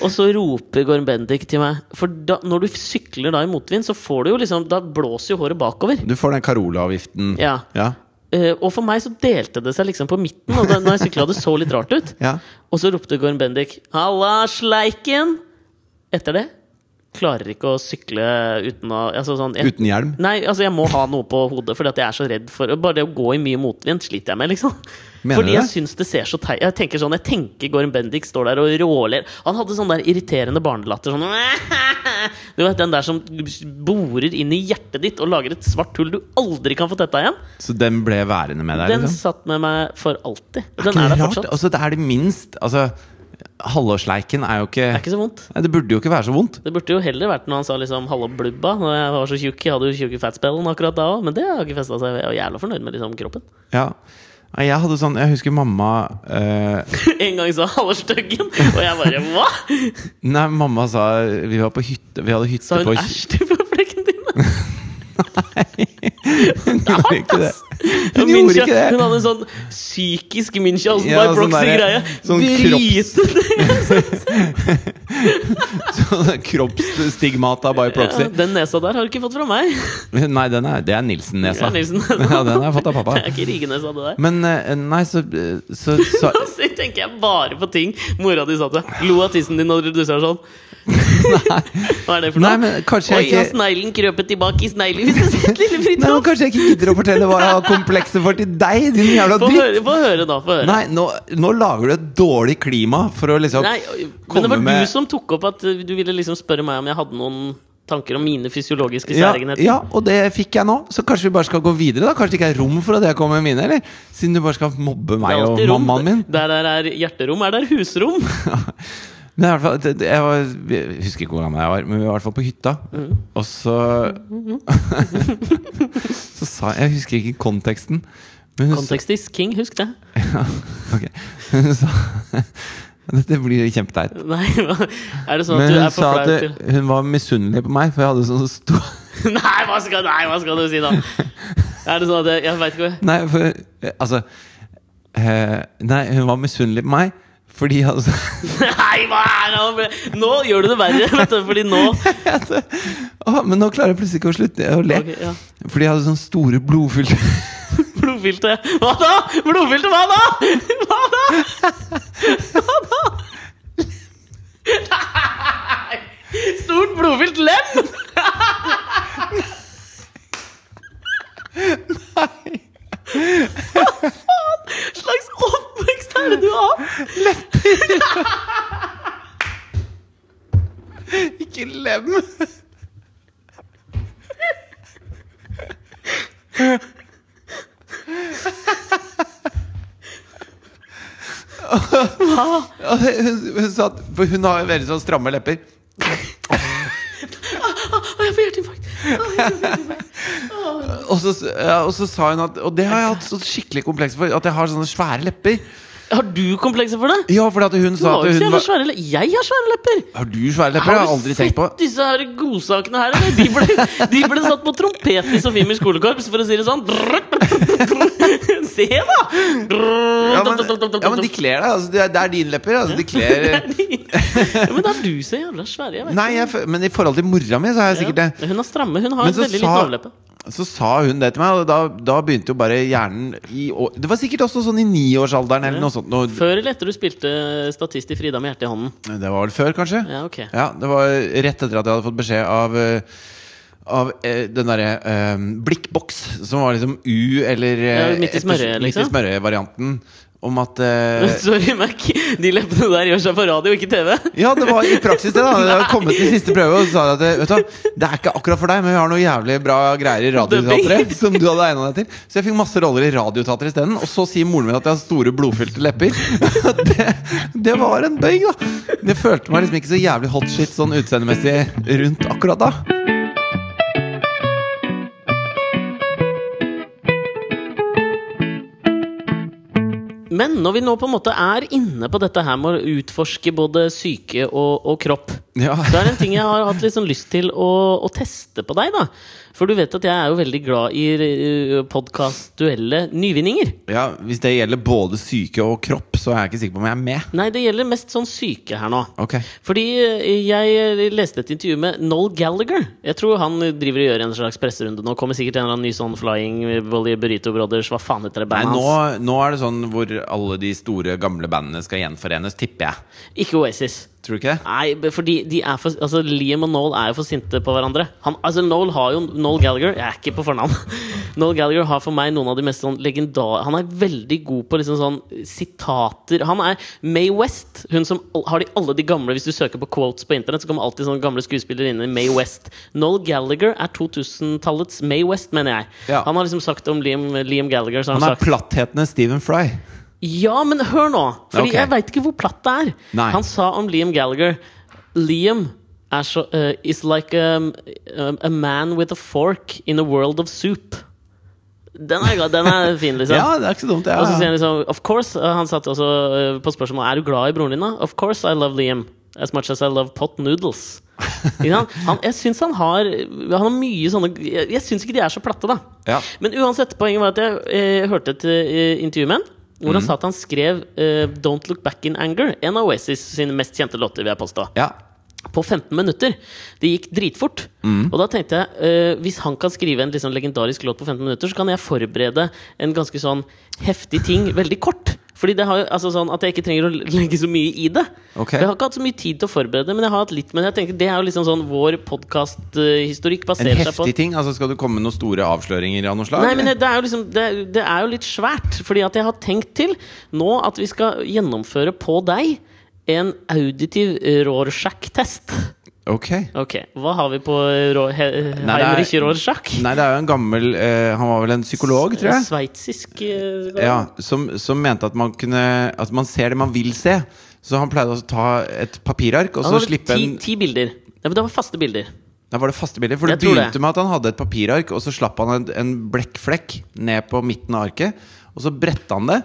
og så roper Gorm Bendik til meg. For da, når du sykler da i motvind, så får du jo liksom Da blåser jo håret bakover. Du får den Carola-avgiften. Ja. Ja. Eh, og for meg så delte det seg liksom på midten, og da når jeg sykla, det så litt rart ut. Ja. Og så ropte Gorm Bendik 'Halla, sleiken!' Etter det klarer ikke å sykle uten å altså sånn, jeg, Uten hjelm. Nei, altså jeg må ha noe på hodet, fordi at jeg er så redd for Bare det å gå i mye motvind sliter jeg med, liksom. Mener fordi du jeg det? syns det ser så teit Jeg tenker sånn, jeg tenker Gorm Bendik står der og råler. Han hadde sånn der irriterende barnelatter. Sånn *laughs* Du vet den der som borer inn i hjertet ditt og lager et svart hull du aldri kan få tetta igjen. Så den ble værende med deg? Den Liksom. satt med meg for alltid. Den er der Rart, fortsatt. Altså, det er det minst Altså, halvårsleiken er jo ikke, Det er ikke så vondt. Nei, Det burde jo ikke være så vondt. Det burde jo heller vært når han sa liksom 'hallo, blubba'. Når jeg var så tjukk, jeg hadde jo tjukke fatspellen akkurat da òg. Men det har ikke festa seg. Jeg er jævla fornøyd med liksom, kroppen. Ja. Nei, Jeg hadde sånn Jeg husker mamma eh, En gang sa 'hallo, styggen', og jeg bare 'hva?! Nei, mamma sa Vi var på hytte Vi hadde hytte Sa hun på 'æsj' til flekken din? *laughs* Hun *laughs* gjorde ikke det. Ja, Hun München- gjorde ikke det. Hun hadde en sånn psykisk Münchhausen Ja, by sånn proxy-greie. derre- sånn Sånn Kroppsstigmata by proxy. Ja, den nesa der har du ikke fått fra meg. Nei, den er, det er Nilsen-nesa. Ja, Nilsen. *laughs* Ja, den har jeg fått av *laughs* pappa. Det er ikke rigenesa, det der. *laughs* Men eh, nei, så, eh, så, så Så tenker jeg bare på ting mora di sa til deg. Lo av tissen din når du sa *laughs* sånn. *laughs* Hva er det *laughs* for noe? Nei, men kanskje Oi, jeg ja, ikke sneglen krøpet tilbake i sneglehuset sitt, lille Nei, men Fridtjof! Kanskje jeg ikke gidder å fortelle hva jeg har komplekser for til deg, din jævla Få dritt! høre, få høre, da. *laughs* Få høre. Nei, nå, nå lager du et dårlig klima for å liksom Nei, men komme det var med- du som tok opp at uh, du ville liksom spørre meg om jeg hadde noen tanker om mine fysiologiske ja, særegenheter. ja, og det fikk jeg nå. Så kanskje vi bare skal gå videre? da Kanskje det ikke er rom for at jeg kommer med mine? eller? Siden du bare skal mobbe Det er meg og alltid rom. mammaen min. Der der er hjerterom, er der *laughs* husrom. Men i hvert fall, det- det- jeg, var, jeg husker ikke hvor gammel jeg var, men vi var i hvert fall på hytta. Mm. Og så *laughs* Så sa jeg Jeg husker ikke konteksten. Men hun, sa- Kontekst is king, husk det. *laughs* ok. hun sa *laughs* Dette blir kjempeteit. Nei, *laughs* hva- er det sånn at du Men hun er for sa flau at til det- hun var misunnelig på meg, for jeg hadde sånn stor *laughs* nei hva, skal, nei, hva skal du *laughs* si da? Er det sånn at jeg, jeg veit ikke hva *laughs* Nei, for eh, altså eh, Nei, hun var misunnelig på meg fordi jeg hadde sånn- så- *laughs* Nei, hva er det? Nå gjør du det verre, *laughs* vet du, fordi nå *laughs* Å, Men nå klarer jeg plutselig ikke å slutte å le. Ok, ja. Fordi jeg hadde sånne store blodfylte Blodfilter. Hva da? Blodfilter, hva da? Hva da? Hva da? Nei! Stort blodfylt lem! Nei, Hva slags oppvekst er det du har? *laughs* ikke lem! Og Hun, hun sa at For hun har jo veldig sånn stramme lepper. Å, Ah, jeg får hjerteinfarkt. Og så, ja, og så sa hun at Og det har jeg hatt så skikkelig kompleks for. At jeg har sånne svære lepper. Har du komplekser for det? Ja, fordi at hun Du sa har at jo ikke hun jævla var svære lepper. Jeg har svære lepper. Har du Har svære lepper? du Det har jeg aldri tenkt på. sett disse her godsakene her, eller? De ble, de ble satt på trompet i Sofiemyrs skolekorps, for å si det sånn. *laughs* Se, da! Ja, men, ja, men de kler deg. Altså, det er- det er dine lepper. Altså, de *laughs* kler ja, men da er du så jævla svære. Jeg vet Nei, jeg, fø- men i forhold til mora mi, så er jeg sikkert det. Ja, Hun er stramme. Hun har Men en så veldig sa- liten overleppe. Så sa hun det til meg, og da, da begynte jo bare hjernen i å- Det var sikkert også sånn i niårsalderen eller noe sånt. Noe, det Før eller etter du spilte statist i Frida med hjertet i hånden? var vel før, kanskje? Ja, ok. Ja, det var rett etter at jeg hadde fått beskjed av eh, av eh, den derre eh, blikkboks, som var liksom U eller eh, Ja, midt i etter- smørøyet, midt i liksom. smørøyet-varianten. Om at *laughs* eh, Sorry, Mac. De leppene der gjør seg på radio, ikke TV. Ja, det var i praksis det, da. Det hadde kommet til siste prøve, og så sa de at vet du, hva, det er ikke akkurat for deg, men vi har noe jævlig bra greier i Radioteatret som du hadde egna deg til. Så jeg fikk masse roller i Radioteatret isteden. Og så sier moren min at jeg har store blodfylte lepper. *laughs* Det, det var en bøyg, da. Det følte meg liksom ikke så jævlig hot shit sånn utseendemessig rundt akkurat da. Men når vi nå på en måte er inne på dette her med å utforske både psyke og, og kropp, Ja. så er det en ting jeg har hatt litt sånn lyst til å, å teste på deg, da. For du vet at jeg er jo veldig glad i podkast-duelle nyvinninger. ja, Hvis det gjelder både syke og kropp, så er jeg ikke sikker på om jeg er med. Nei, det gjelder mest sånn syke her nå. Ok Fordi eh, jeg leste et intervju med Noel Gallagher. Jeg tror han driver og gjør en slags presserunde nå. Kommer sikkert en eller annen ny sånn Flying Volley Burrito Brothers. Hva faen heter det Nei, bandet nå, hans? nå er det sånn hvor alle de store, gamle bandene skal gjenforenes, tipper jeg. Ikke Oasis. Tror du ikke det? Nei, b- fordi de er for, altså, Liam og Noel er jo for sinte på hverandre. Han, altså, Noel har jo Noel Gallagher Jeg er ikke på fornavn. *laughs* Noel Gallagher har for meg noen av de mest sånn legendar... Han er veldig god på liksom sånn sitater. Han er May West. Hun som al- har de alle de gamle Hvis du søker på quotes på internett, så kommer alltid sånne gamle skuespillerinner. May West. Noel Gallagher er 2000-tallets May West, mener jeg. Ja. Han har liksom sagt om Liam, Liam Gallagher så har Han han er sagt platthetende Stephen Fry. ja, men hør nå! Fordi Ok. jeg veit ikke hvor platt det er. Nei. Han sa om Liam Gallagher Liam er så, eh, is like um, um, a man with a fork in a world of soup. Den er, god- den er fin, liksom. *laughs* Ja, det er ikke så dumt. Ja. Og så sier han liksom Of course, eh, han satt også eh, på spørsmål Er du glad i broren din da? Of course I love Liam As much as I love pot noodles Ikke *laughs* sant? han, Jeg synes han har Han har mye sånne Jeg, jeg synes ikke de er så platte da Ja. Men uansett, poenget var at jeg eh, hørte et eh, intervju med han hvor han Mhm. sa at han skrev eh, Don't Look Back in Anger En av Oasis sine mest kjente låter vil jeg påstå ja. på 15 minutter. Det gikk dritfort. Mm. Og da tenkte jeg eh, hvis han kan skrive en liksom legendarisk låt på 15 minutter, så kan jeg forberede en ganske sånn heftig ting *laughs* veldig kort. Fordi det har jo, altså sånn at jeg ikke trenger å legge så mye i det. Ok. For Jeg har ikke hatt så mye tid til å forberede, men jeg har hatt litt. Men jeg tenker, det er jo liksom sånn vår podkasthistorikk En baserer seg på heftig ting? Altså Skal du komme med noen store avsløringer av noe slag? Nei, men det, eller? det, er jo liksom, det, det er jo litt svært. Fordi at jeg har tenkt til nå at vi skal gjennomføre på deg en auditiv eh, Rorschach-test. Ok. Ok, hva har vi på eh, Rå- He- Nei, det er- Heinrich Rorschach? Nei, det er jo en gammel eh, Han var vel en psykolog, tror jeg? Sveitsisk eh, Ja, som, som mente at man kunne At man ser det man vil se. Så han pleide å ta et papirark og Han så hadde slippe ti, en ti bilder. Nei, men det var faste bilder. Da var det faste bilder. For det Jeg tror begynte det. med at han hadde et papirark, og så slapp han en, en blekkflekk ned på midten av arket. Og så bretta han det,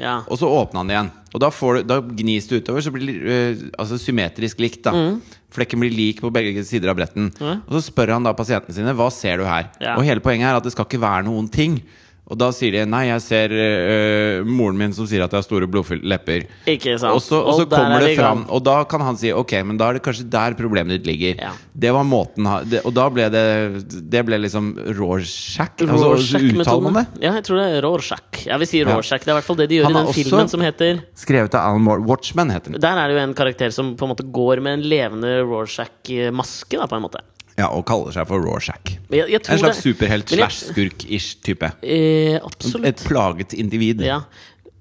Ja. og så åpna han det igjen. Og da, får du, da gnis det utover, så blir det eh, altså symmetrisk likt. da Mm. Flekken blir lik på begge sider av bretten. Og så spør han da pasientene sine hva ser du her. Ja. Og hele poenget er at det skal ikke være noen ting. Og da sier de nei, jeg ser eh, moren min som sier at jeg har store blodfylte lepper. Ikke sant? Og så, og så der er kommer det vi i gang. fram, og da kan han si Ok, men da er det kanskje der problemet ditt ligger. Ja. Det var måten ha- det, Og da ble det Det ble liksom Rorschach. Altså, uttaler man det? Rorschach-metoden. Ja, jeg tror det er Rorschach. Jeg vil si Rorschach. Det er i hvert fall det de gjør Han i er den også- filmen som heter Skrevet av Alan Moore. Watchman heter den. Der er det jo en karakter som på en måte går med en levende Rorschach-maske, da, på en måte. Ja, og kaller seg for Rorschach. Men Jeg, jeg tror En slags det- superhelt Men jeg- slash skurk-ish type. Eh, absolutt. Et plaget individ. Ja, Ja.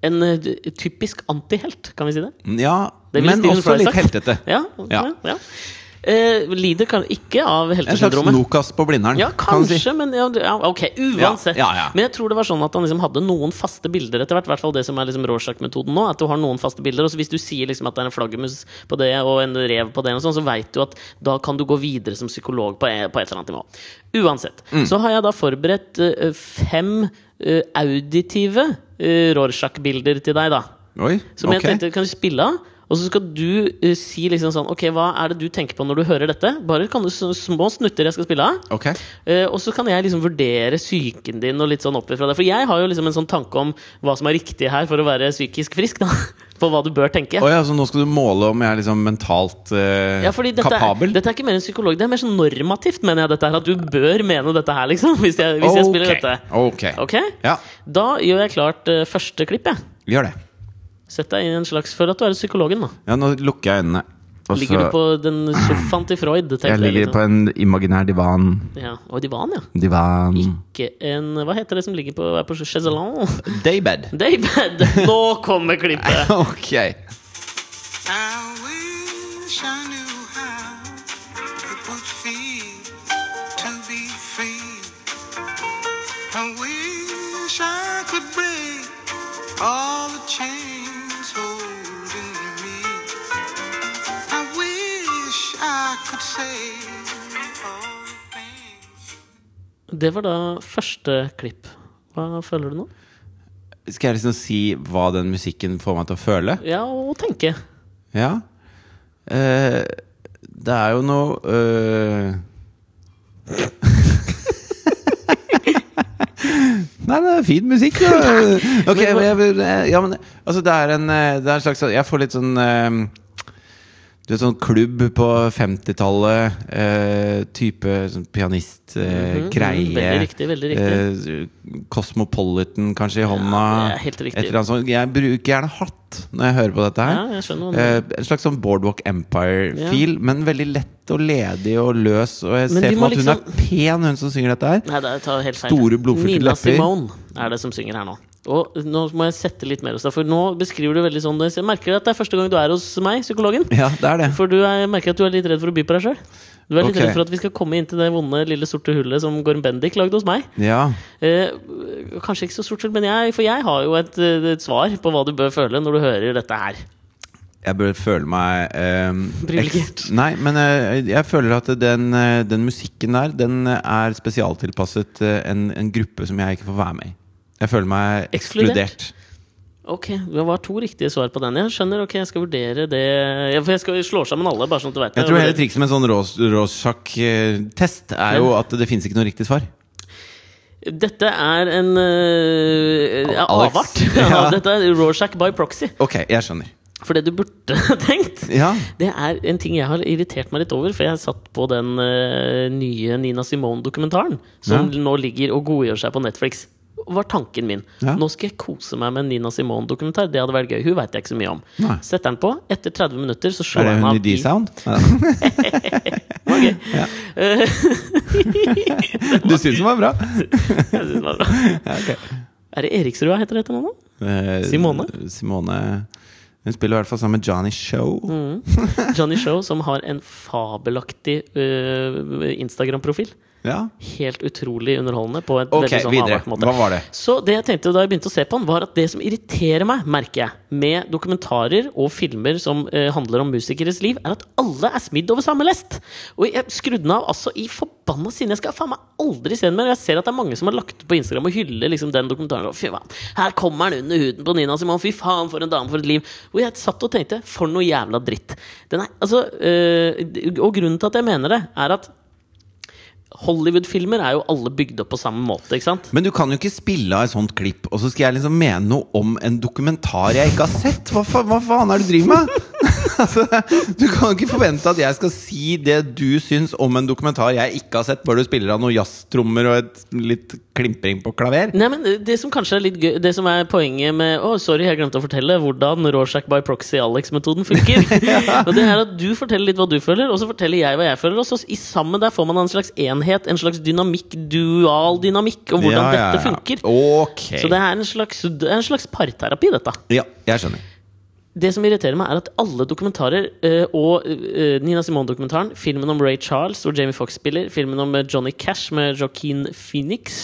En eh, typisk antihelt, kan vi si det? Det ville men Steven også Fry litt sagt. heltete. Ja, Ja. ja. ja. Eh, lider kan ikke av En slags heltesyndromet. Nokas på Blindern. Ja, kan man si. kanskje, men ja, du- ja, ok, uansett. Ja, ja, ja. Men jeg tror det var sånn at han liksom hadde noen faste bilder etter hvert. I hvert fall det som er liksom Rorschach-metoden nå. At du har noen faste bilder Og så Hvis du sier liksom at det er en flaggermus på det og en rev på det, og sånn, så veit du at da kan du gå videre som psykolog på, e- på et eller annet nivå. Uansett. Mm. Så har jeg da forberedt eh, fem eh, auditive eh, Rorschach-bilder til deg, da. Oi, Som ok. jeg tenkte, kan vi spille av? Og så skal du eh, si liksom sånn Ok, hva er det du tenker på når du hører dette? Bare kan du så- små snutter jeg skal spille av. Ok. Eh, og så kan jeg liksom vurdere psyken din og litt sånn opp ifra det. For jeg har jo liksom en sånn tanke om hva som er riktig her for å være psykisk frisk. da *laughs* På hva du bør tenke. Å ja, så altså, nå skal du måle om jeg er liksom mentalt eh, Ja, fordi dette kapabel? Er, dette er ikke mer en psykolog, det er mer sånn normativt, mener jeg. dette her At du bør mene dette her, liksom. *laughs* Hvis jeg, hvis jeg spiller Ok, dette. ok. Ok? Ja, Da gjør jeg klart eh, første klipp, jeg. gjør det. Sett deg inn i en slags Føl at du er psykologen, da. Ja, nå lukker jeg øynene. og Ligger så- du på den sofaen til Freud? tenker Jeg ligger liksom. på en imaginær divan. Ja, Og divan, ja. Divan Ikke en Hva heter det som ligger på, er på *laughs* chaiselong? Daybed. *laughs* David! Nå kommer klippet! Ok. I wish I knew how it would feel to be free. I wish I could break all the chains holding me. I wish I could say all the things. Det var da første klipp. Hva føler du nå? Skal jeg liksom si hva den musikken får meg til å føle? Ja, og tenke. Ja. Eh, det er jo noe eh, *laughs* Nei, det er fin musikk. da. *laughs* Ok, men jeg, vil- eh, ja, men, altså, det er en eh, det er en slags Jeg får litt sånn eh, Du vet, sånn klubb på 50-tallet, eh, type sånn Mhm, pianist-greie. mhm, veldig riktig, veldig Eh, Cosmopolitan, kanskje, i hånda. det er helt riktig. Et eller annet sånt. Jeg bruker gjerne hatt når jeg hører på dette her. Ja, jeg skjønner hva du Eh, en slags sånn Boardwalk Empire-feel, men veldig lett og ledig og løs. Og jeg Men ser de for må liksom- meg at hun er pen, hun som synger dette her. Nei, det tar helt feil. Store, blodfylte Nina lepper. Simone er det som synger her nå. Og nå må jeg sette litt mer hos deg, for nå beskriver du veldig sånn Jeg merker at det er første gang du er hos meg, psykologen. Ja, *laughs* det er det. For du er, jeg merker at du er litt redd for å by på deg sjøl. Du er litt Ok. redd for at vi skal komme inn til det vonde, lille sorte hullet som Gorm Bendik lagde hos meg. Ja, Eh, kanskje ikke så sort skjult, men jeg, for jeg har jo et, eh, et svar på hva du bør føle når du hører dette her. jeg bør føle meg ehm, Privilegert. ekst- Nei, men eh, jeg føler at den, eh, den musikken der, den eh, er spesialtilpasset eh, en, en gruppe som jeg ikke får være med i. Jeg føler meg Ekskludert? ekskludert. Ok, Det var to riktige svar på den. Jeg skjønner, ok, jeg skal vurdere det ja, For jeg skal slå sammen alle, bare sånn at du vet Jeg det. tror hele trikset med en sånn Rorschach-test er jo at det finnes ikke noe riktig svar. Dette er en eh, ja, Alex. avart. *laughs* Ja. Ja. Dette er Rorschach by proxy. Ok, jeg skjønner. For det du burde *laughs* tenkt, Ja, det er en ting jeg har irritert meg litt over. For jeg satt på den eh, nye Nina Simone-dokumentaren som Ja. nå ligger og godgjør seg på Netflix. Var tanken min. Ja. Nå skal jeg kose meg med en Nina Simone-dokumentar. Det hadde vært gøy. Hun veit jeg ikke så mye om. Nei. Setter den på. Etter 30 minutter så Er slår det jeg hun meg i *laughs* D-Sound? Ja. *laughs* Du syns den var bra? Jeg synes det var bra. *laughs* Ja, ok. Er det Eriksrud heter dette nå? Eh, Simone? Simone Hun spiller i hvert fall sammen med Johnny Show. Mm. Johnny Show, som har en fabelaktig eh, Instagram-profil. Ja. Helt utrolig underholdende på et Ok, veldig sånn videre. avart måte. Hva var det? Så det jeg tenkte da jeg begynte å se på den, var at det som irriterer meg, merker jeg, med dokumentarer og filmer som eh, handler om musikeres liv, er at alle er smidd over samme lest. Og jeg skrudde den av altså i forbanna sinne. Jeg skal faen meg aldri se den mer. Jeg ser at det er mange som har lagt ut på Instagram og hyller liksom den dokumentaren. Og fy faen, her kommer den under huden på Nina Simone. Fy faen, for en dame, for et liv. Hvor jeg satt og tenkte, for noe jævla dritt. Den er, altså, eh, og grunnen til at jeg mener det, er at Hollywood-filmer er jo alle bygd opp på samme måte, ikke sant? Men du kan jo ikke spille av et sånt klipp, og så skal jeg liksom mene noe om en dokumentar jeg ikke har sett! Hva, fa hva faen er det du driver med?! *laughs* altså, du kan jo ikke forvente at jeg skal si det du syns om en dokumentar jeg ikke har sett, bare du spiller av noen jazztrommer og et litt klimpring på klaver. Nei, men Det som kanskje er litt gøy Det som er poenget med Å, sorry, jeg glemte å fortelle hvordan Rorschach by proxy-Alex-metoden *laughs* funker. Og det er at Du forteller litt hva du føler, og så forteller jeg hva jeg føler. Og så i sammen der får man en slags enhet, en slags dynamikk, dual dynamikk, om hvordan Ja, ja, dette ja. funker. Ok. Så det er en slags, det er en slags parterapi, dette. Ja, jeg skjønner. Det som irriterer meg, er at alle dokumentarer, eh, og eh, Nina Simone-dokumentaren, filmen om Ray Charles, hvor Jamie Fox spiller, filmen om eh, Johnny Cash med Joaquin Phoenix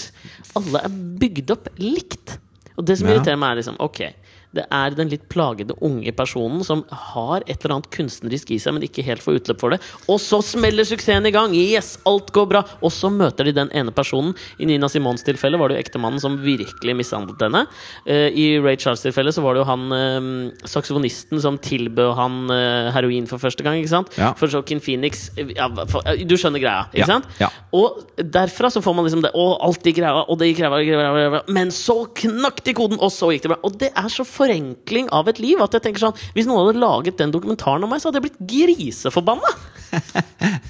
Alle er bygd opp likt. Og det som Ja. irriterer meg, er liksom Ok, det er den litt plagede unge personen som har et eller annet kunstnerisk i seg, men ikke helt får utløp for det. Og så smeller suksessen i gang! Yes, alt går bra! Og så møter de den ene personen. I Nina Simons tilfelle var det jo ektemannen som virkelig mishandlet henne. Eh, I Ray Charles' tilfelle så var det jo han eh, saksofonisten som tilbød han eh, heroin for første gang. ikke sant? Ja. For Joaquin Phoenix eh, ja, hva fa- eh, Du skjønner greia, ikke Ja, sant? ja. Og derfra så får man liksom det Å, alt gikk ræva, og det gikk ræva, gikk ræva, gikk ræva. Men så knakk det i koden, og så gikk det bra. Og det er så forenkling av et liv at jeg tenker sånn Hvis noen hadde laget den dokumentaren om meg, så hadde jeg blitt griseforbanna! *laughs*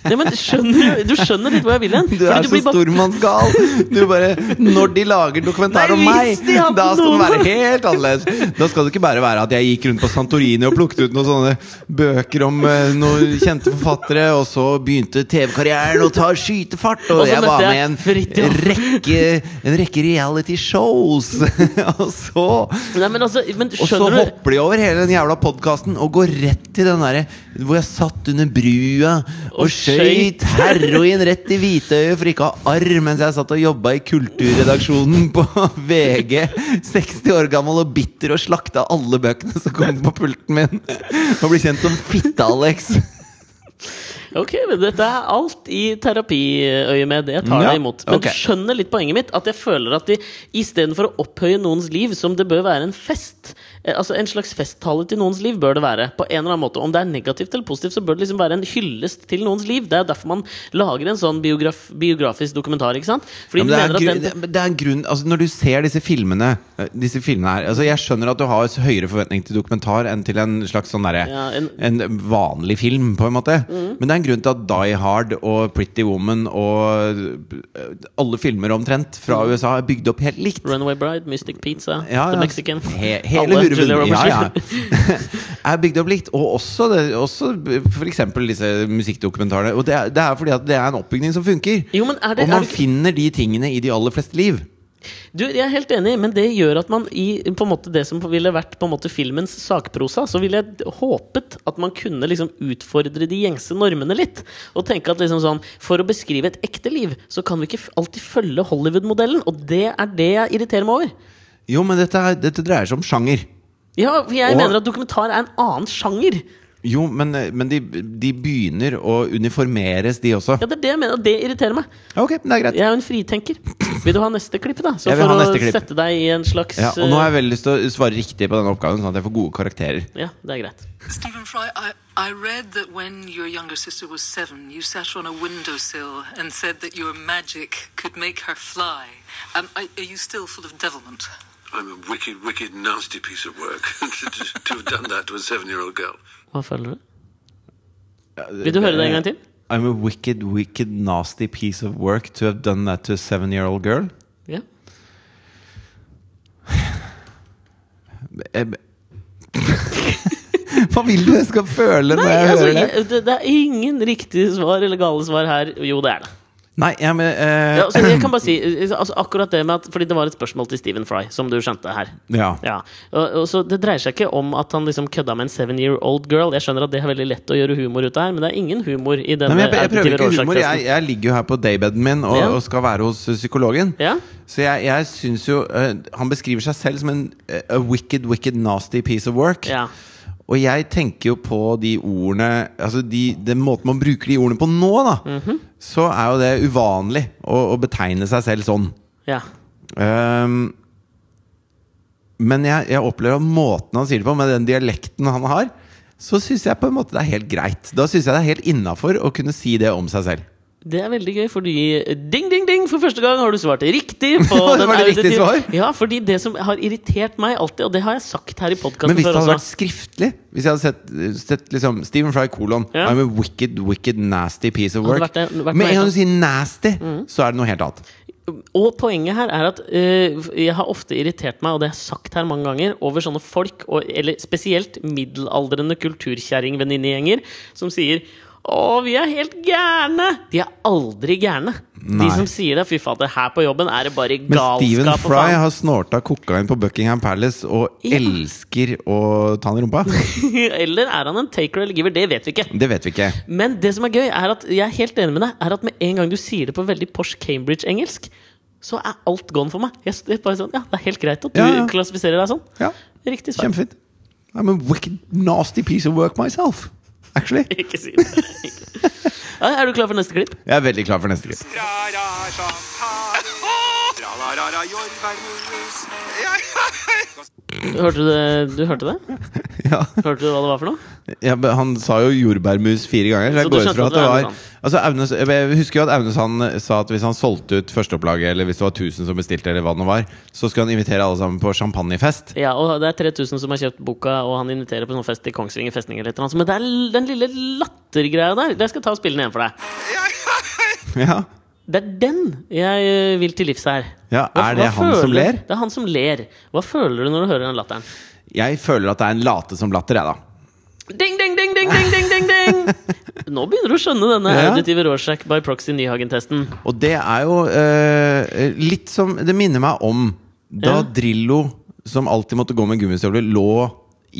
Nei, men skjønner du, du skjønner litt hvor jeg vil hen? *laughs* Du er Fordi så blir bare- stormannsgal! Du bare Når de lager dokumentar Nei, om meg, hvis de hadde da skal den være noen- helt annerledes! Da skal det ikke bare være at jeg gikk rundt på Santorini og plukket ut noen sånne bøker om eh, noen kjente forfattere, og så begynte TV-karrieren å ta skytefart, Og og, så jeg var møtte med jeg i en Fridtjof. rekke, en rekke reality shows! *laughs* og så Nei, men altså, men og så skjønner du hopper de over hele den jævla podkasten og går rett til den derre hvor jeg satt under brua og, Og skøyt skøyt. heroin rett i hvitøyet for ikke å ha arr mens jeg satt og jobba i kulturredaksjonen på *laughs* VG. 60 år gammel og bitter og slakta *laughs* alle bøkene som kom på pulten min. Og ble kjent som Fitte-Alex. Ok, men dette er alt i terapiøyemed. Jeg tar Ja, deg imot. Men ok. du skjønner litt poenget mitt. At jeg føler at de istedenfor å opphøye noens liv som det bør være en fest eh, Altså En slags festtale til noens liv bør det være. På en eller annen måte Om det er negativt eller positivt, så bør det liksom være en hyllest til noens liv. Det er derfor man lager en sånn biograf, biografisk dokumentar. ikke sant? Fordi Ja, men de mener det, er en grunn, at den det- det er en grunn altså Når du ser disse filmene, eh, disse filmene her altså Jeg skjønner at du har så høyere forventning til dokumentar enn til en slags sånn derre Ja, en, en- Mm. vanlig film, på en måte. Men det er en grunn til at Die Hard og Pretty Woman og eh, alle filmer omtrent fra USA er bygd opp helt likt. *laughs* Runaway Bride, Mystic Pizza, Ja, Mm. The ja. Mexican *laughs* He alle hele hurven. Julia Roberts. Ja, ja. *laughs* er bygd opp likt. Og også, det, også f.eks. disse musikkdokumentarene. Og det er, det er fordi at det er en oppbygning som funker. *laughs* Jo, men er det- og er man det- finner de tingene i de aller fleste liv. Du, Jeg er helt enig, men det gjør at man i på en måte, det som ville vært på en måte filmens sakprosa, så ville jeg d- håpet at man kunne liksom utfordre de gjengse normene litt. Og tenke at liksom sånn, for å beskrive et ekte liv, så kan vi ikke f- alltid følge Hollywood-modellen. Og det er det jeg irriterer meg over. Jo, men dette, er, dette dreier seg om sjanger. Ja, for jeg Og- mener at dokumentar er en annen sjanger. Jo, men, eh, men de, de begynner å uniformeres, de også. Ja, det er det jeg mener, og det irriterer meg. Ok, det er greit. Jeg er jo en fritenker. Vil du ha neste klipp, da? Så Jeg vil for ha å neste klipp. sette deg i en slags Ja, og nå har jeg veldig lyst til å svare riktig på denne oppgaven, sånn at jeg får gode karakterer. eh, ja, det er greit. Stephen Fry, I, I read that when your younger sister was seven, you sat on a windowsill and said that your magic could make her fly. Um, are, are you still full of devilment? I'm a wicked, wicked, nasty piece of work to, to- to have done that to a seven year old *laughs* girl. Hva føler du? Vil du høre det en gang til? I'm a wicked, wicked, nasty piece of work to have done that to a seven-year-old *laughs* girl. Ja. Eh, Hva vil du jeg skal føle når Nei, jeg altså, hører det? jeg, det, det er ingen riktige svar eller gale svar her. Jo, det er det. Nei, jeg men, eh, Ja, altså, jeg kan bare si eh, altså, akkurat det med at Fordi det var et spørsmål til Stephen Fry, som du skjønte her. Ja. Og, og så Det dreier seg ikke om at han liksom kødda med en seven year old girl. Jeg skjønner at det er veldig lett å gjøre humor ut av her, men det er ingen humor i Nei, denne men jeg, jeg prøver adjektive ikke humor. Jeg, årsakstesten. jeg ligger jo her på daybeden min og, Ja. og skal være hos ø, psykologen. Ja. Så jeg, jeg syns jo ø, Han beskriver seg selv som en ø, a wicked, wicked nasty piece of work. Ja. Og jeg tenker jo på de ordene Altså de, den måten man bruker de ordene på nå, da. Mhm. Så er jo det uvanlig å, å betegne seg selv sånn. Ja. Ehm, men jeg, jeg opplever at måten han sier det på, med den dialekten han har, så syns jeg på en måte det er helt greit. Da syns jeg det er helt innafor å kunne si det om seg selv. Det er veldig gøy, fordi ding, ding, ding! For første gang har du svart *laughs* riktig! På Var det den riktig auditive- svar? Ja, fordi det som har irritert meg alltid, og det har jeg sagt her i Men podkasten hvis det før hadde også vært skriftlig Hvis jeg hadde sett, sett liksom Stephen Fry kolon Ja. I'm a wicked, wicked nasty piece of work. Hadde vært det- vært Mm. Med meg en gang sånn. du sier nasty, så er det noe helt annet. Og poenget her er at eh, jeg har ofte irritert meg, og det har jeg sagt her mange ganger, over sånne folk, og, eller spesielt middelaldrende kulturkjerringvenninnegjenger, som sier å, vi er helt gærne! De er aldri gærne. Nei. De som sier det, fy fader, her på jobben er det bare Men galskap. Stephen og Fry faen. har snorta kokain på Buckingham Palace og Ja. elsker å ta den i rumpa. *laughs* eller er han en taker eller giver? Det vet vi ikke. Det vet vi ikke. Men det som er gøy, er at jeg er helt enig med deg, er at med en gang du sier det på veldig Porsche Cambridge-engelsk, så er alt gone for meg. Jeg, det er bare sånn, ja, det er helt greit at du Ja, ja. klassifiserer deg sånn. Ja, Riktig svar. Kjempefint. I'm a wicked, nasty piece of work myself. Actually. Ikke si det. Ikke. Ja, er du klar for neste klipp? Jeg er veldig klar for neste klipp. Tra-ra, champagne. Tra-la-ra-ra, jordbærmus. Ja, ja. Hørte du det? Du hørte det? *laughs* Ja. Hørte du hva det var for noe? Ja, men han sa jo jordbærmus fire ganger. Så Så jeg du går ut skjønte fra at at det det var var altså, Aunes, Jeg husker jo at Aunes han sa at hvis han solgte ut førsteopplaget, eller hvis det var 1000 som bestilte, eller hva det nå var, så skulle han invitere alle sammen på *laughs* champagnefest. Ja, og det er 3000 som har kjøpt boka, og han inviterer på sånn fest i Kongsvinger festning eller et eller annet. Men det er den lille lattergreia der. Jeg skal ta og spille den igjen for deg. Ja, ja. Ja. Det er den jeg eh, vil til livs her. Ja, Hva- er det hva han som føler- ler? Det er han som ler. Hva føler du når du hører den latteren? Jeg føler at det er en late som latter, jeg, da. Ding, ding, ding, ding, ding, ding, ding, *laughs* ding! Nå begynner du å skjønne denne Ja. auditive Rorschach by proxy Nyhagen-testen. Og det er jo eh, litt som Det minner meg om da Ja. Drillo, som alltid måtte gå med gummistøvler, lå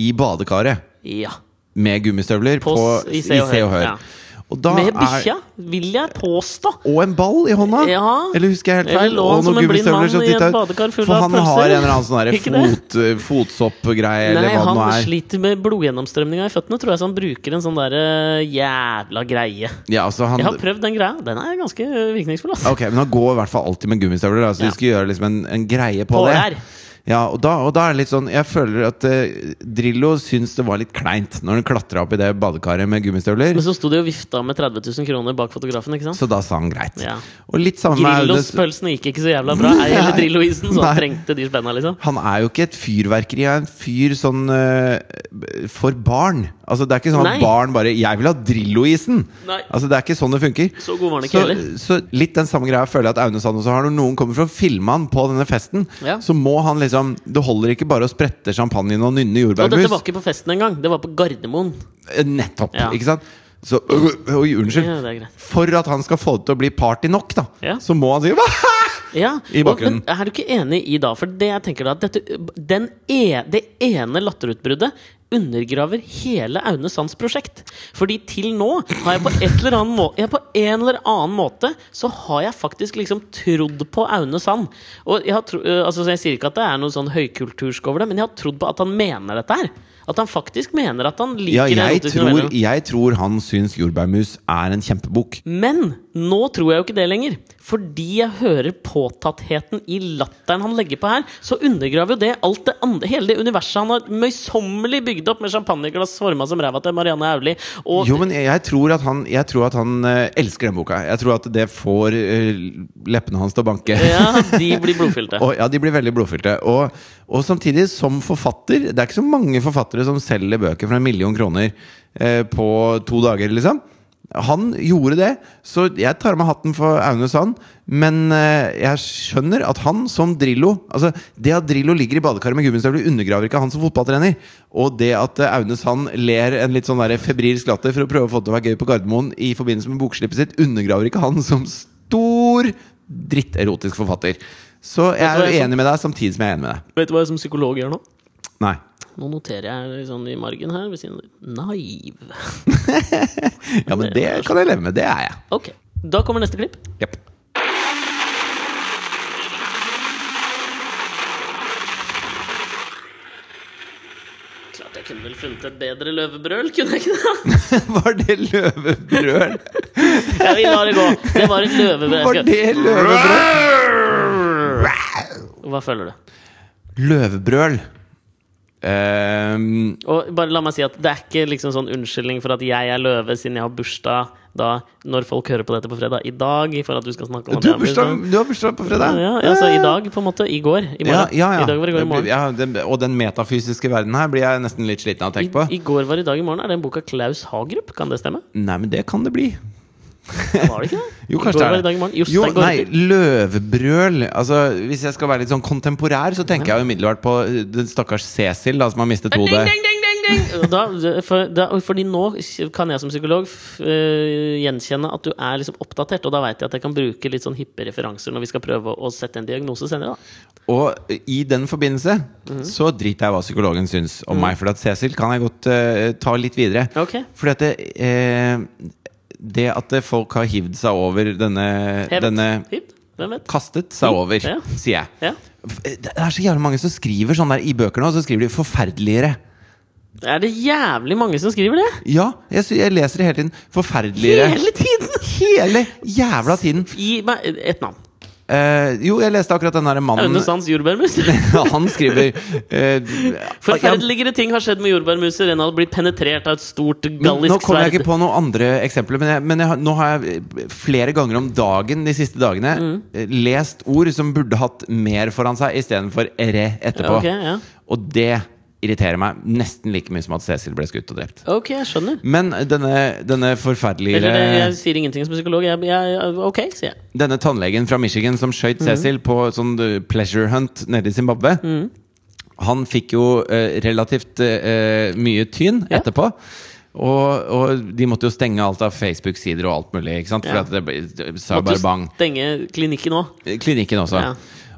i badekaret. Ja. med gummistøvler på, På s- i Se og Hør. ja. Og da Med er- bikkja, vil jeg påstå. og en ball i hånda? Ja. Eller husker jeg helt Eller feil? lå han Og som noen en blind gummistøvler mann som i et titta ut. badekar full For av han pølser? har en eller annen sånn der Ikke det? fot, fotsoppgreie, eller Nei, hva det han nå er. sliter med blodgjennomstrømninga i føttene, tror jeg, så han bruker en sånn der eh, jævla greie. Ja, altså han, Jeg har prøvd den greia. Den er ganske eh, virkningsfull, ass. Ok, men han går i hvert fall alltid med gummistøvler. Da, så Ja. de skulle gjøre liksom en, en greie på, På det. der. Ja, og da, og da er det litt sånn Jeg føler at eh, Drillo syns det var litt kleint når han klatra opp i det badekaret med gummistøvler. Men så sto de og vifta med 30 000 kroner bak fotografen, ikke sant? Så da sa han greit. Ja. Og litt samme med Audun. Grillos-pølsene gikk ikke så jævla *laughs* bra. Ei heller Nei. Drillo-isen, så han Nei. trengte de spenna, liksom. Han er jo ikke et fyrverkeri. Han er en fyr sånn eh, for barn. Altså Det er ikke sånn Nei. at barn bare 'Jeg vil ha Drillo-isen'! Nei. Altså Det er ikke sånn det funker. Så god var han ikke så, heller. så litt den samme greia føler jeg at Aune Sand også har. Når noen kommer for å filme han på denne festen, Ja. så må han liksom Det holder ikke bare å sprette champagnen og nynne Og dette var jordbærmus. ikke på festen engang. Det var på Gardermoen. Eh, Nettopp! Ja. Ikke sant? Så øh, Oi, unnskyld. Ja, det er greit. for at han skal få det til å bli party nok, da, Ja. så må han si *laughs* Ja, I og, men bakgrunnen. er du ikke enig i da? For det jeg tenker da at dette, den e, Det ene latterutbruddet undergraver hele Aune Sands prosjekt. Fordi til nå har jeg på, et eller annen må, jeg på en eller annen måte så har jeg faktisk liksom trodd på Aune Sand. Og jeg, har tro, eh, altså, så jeg sier ikke at det er noe sånn høykultursk over det, men jeg har trodd på at han mener dette her. At han faktisk mener at han liker Ja, jeg erotiske tror, noveller. jeg tror han syns jordbærmus er en kjempebok. Men nå tror jeg jo ikke det lenger. Fordi jeg hører påtattheten i latteren han legger på her, så undergraver jo det alt det andre, hele det universet han har møysommelig bygd opp med champagneglass forma som ræva til Marianne Aulie. Og Jo, men jeg, jeg tror at han, jeg tror at han eh, elsker den boka. Jeg tror at det får eh, leppene hans til å banke. *laughs* ja, de blir blodfylte. Og, ja, de blir veldig blodfylte. Og, og samtidig, som forfatter Det er ikke så mange forfattere som selger bøker for en million kroner eh, på to dager, liksom. Han gjorde det, så jeg tar av meg hatten for Aune Sand. Men eh, jeg skjønner at han som Drillo Altså, det at Drillo ligger i badekaret med gummistøvler, undergraver ikke han som fotballtrener. Og det at eh, Aune Sand ler en litt sånn der febrilsk latter for å prøve å få det til å være gøy på Gardermoen i forbindelse med bokslippet sitt, undergraver ikke han som stor dritterotisk forfatter. Så jeg Vet du hva er jeg jo enig med deg samtidig som jeg er enig med deg. Vet du hva jeg som psykolog gjør nå? Nei. Nå noterer jeg litt sånn i margen her ved siden av Naiv. Ja, men det kan jeg leve med. Det er jeg. Ok, da kommer neste klipp. Jepp. Klart jeg kunne vel funnet et bedre løvebrøl, kunne jeg ikke det? *laughs* *laughs* Var det løvebrøl? Ja, vi lar det gå. Det var et løvebrøl. Var Jeg skal- det løvebrøl? Hva føler du? Løvebrøl. Ehm, Og bare la meg si at Det er ikke liksom sånn unnskyldning for at jeg er løve siden jeg har bursdag da, når folk hører på dette på fredag i dag. For at du skal snakke om at du, jeg har har bursdag, du har bursdag på fredag? liksom- Ja, ja, altså I dag, på en måte. I går. I morgen. Ja, ja, ja. I dag var i går i morgen. Ja, den, og den metafysiske verden her blir jeg nesten litt sliten av å tenke på. I, I går var i dag i morgen. Er den boka Klaus Hagerup? Kan det stemme? Nei, men det kan det bli. Var det ikke det? *laughs* I Jo, går kanskje var i det dag i er morgen. det. Jo, Jostein nei, Gaarder. løvebrøl Altså, Hvis jeg skal være litt sånn kontemporær, så tenker jeg jo umiddelbart på eh, den stakkars Cecil da, som har mistet hodet. Da, for, da, fordi nå kan jeg som psykolog f, øh, gjenkjenne at du er liksom oppdatert, og da veit jeg at jeg kan bruke litt sånn hippe referanser når vi skal prøve å sette en diagnose senere. da Og eh, i den forbindelse Mhm. så driter jeg hva psykologen syns om meg. For at Cecil kan jeg godt eh, ta litt videre. Ok. Fordi at det, eh, det at det folk har hivd seg over denne, Hevet. denne Hivd? Hvem vet? Kastet seg Hiv- over, ja. sier jeg. Ja. F- eh, Det er så jævlig mange som skriver sånn der i bøker nå. Så skriver de 'forferdeligere'. Er det jævlig mange som skriver det? Ja, jeg, sy- jeg leser det hele tiden. 'Forferdeligere'. Hele tiden! Hele jævla tiden. Gi meg et navn. Eh, jo, jeg leste akkurat den derre Aune mannen Sands jordbærmus. *laughs* Han skriver eh, jeg- Forferdeligere ting har skjedd med jordbærmuser enn å bli penetrert av et stort Men nå gallisk kommer jeg sverd. ikke på noen andre eksempler, men, jeg, men jeg, har- nå har jeg eh, flere ganger om dagen de siste dagene Mm. eh, lest ord som burde hatt mer foran seg istedenfor re etterpå. Ok, ja. Og det irriterer meg nesten like mye som at Cecil ble skutt og drept. Ok, jeg skjønner. Men denne, Eller eh, denne det, forferdelige jeg sier ingenting som psykolog. Jeg, jeg, ok, sier jeg. Denne tannlegen fra Michigan som skjøt Mm. Cecil på sånn eh, pleasure hunt nede i Zimbabwe. Han fikk jo eh, relativt eh, eh, mye tyn Ja. etterpå. Og, og de måtte jo stenge alt av Facebook-sider og alt mulig. ikke sant? For Ja. at det ble det sa Måtte bare bang. jo stenge klinikken òg. Klinikken også. Ja.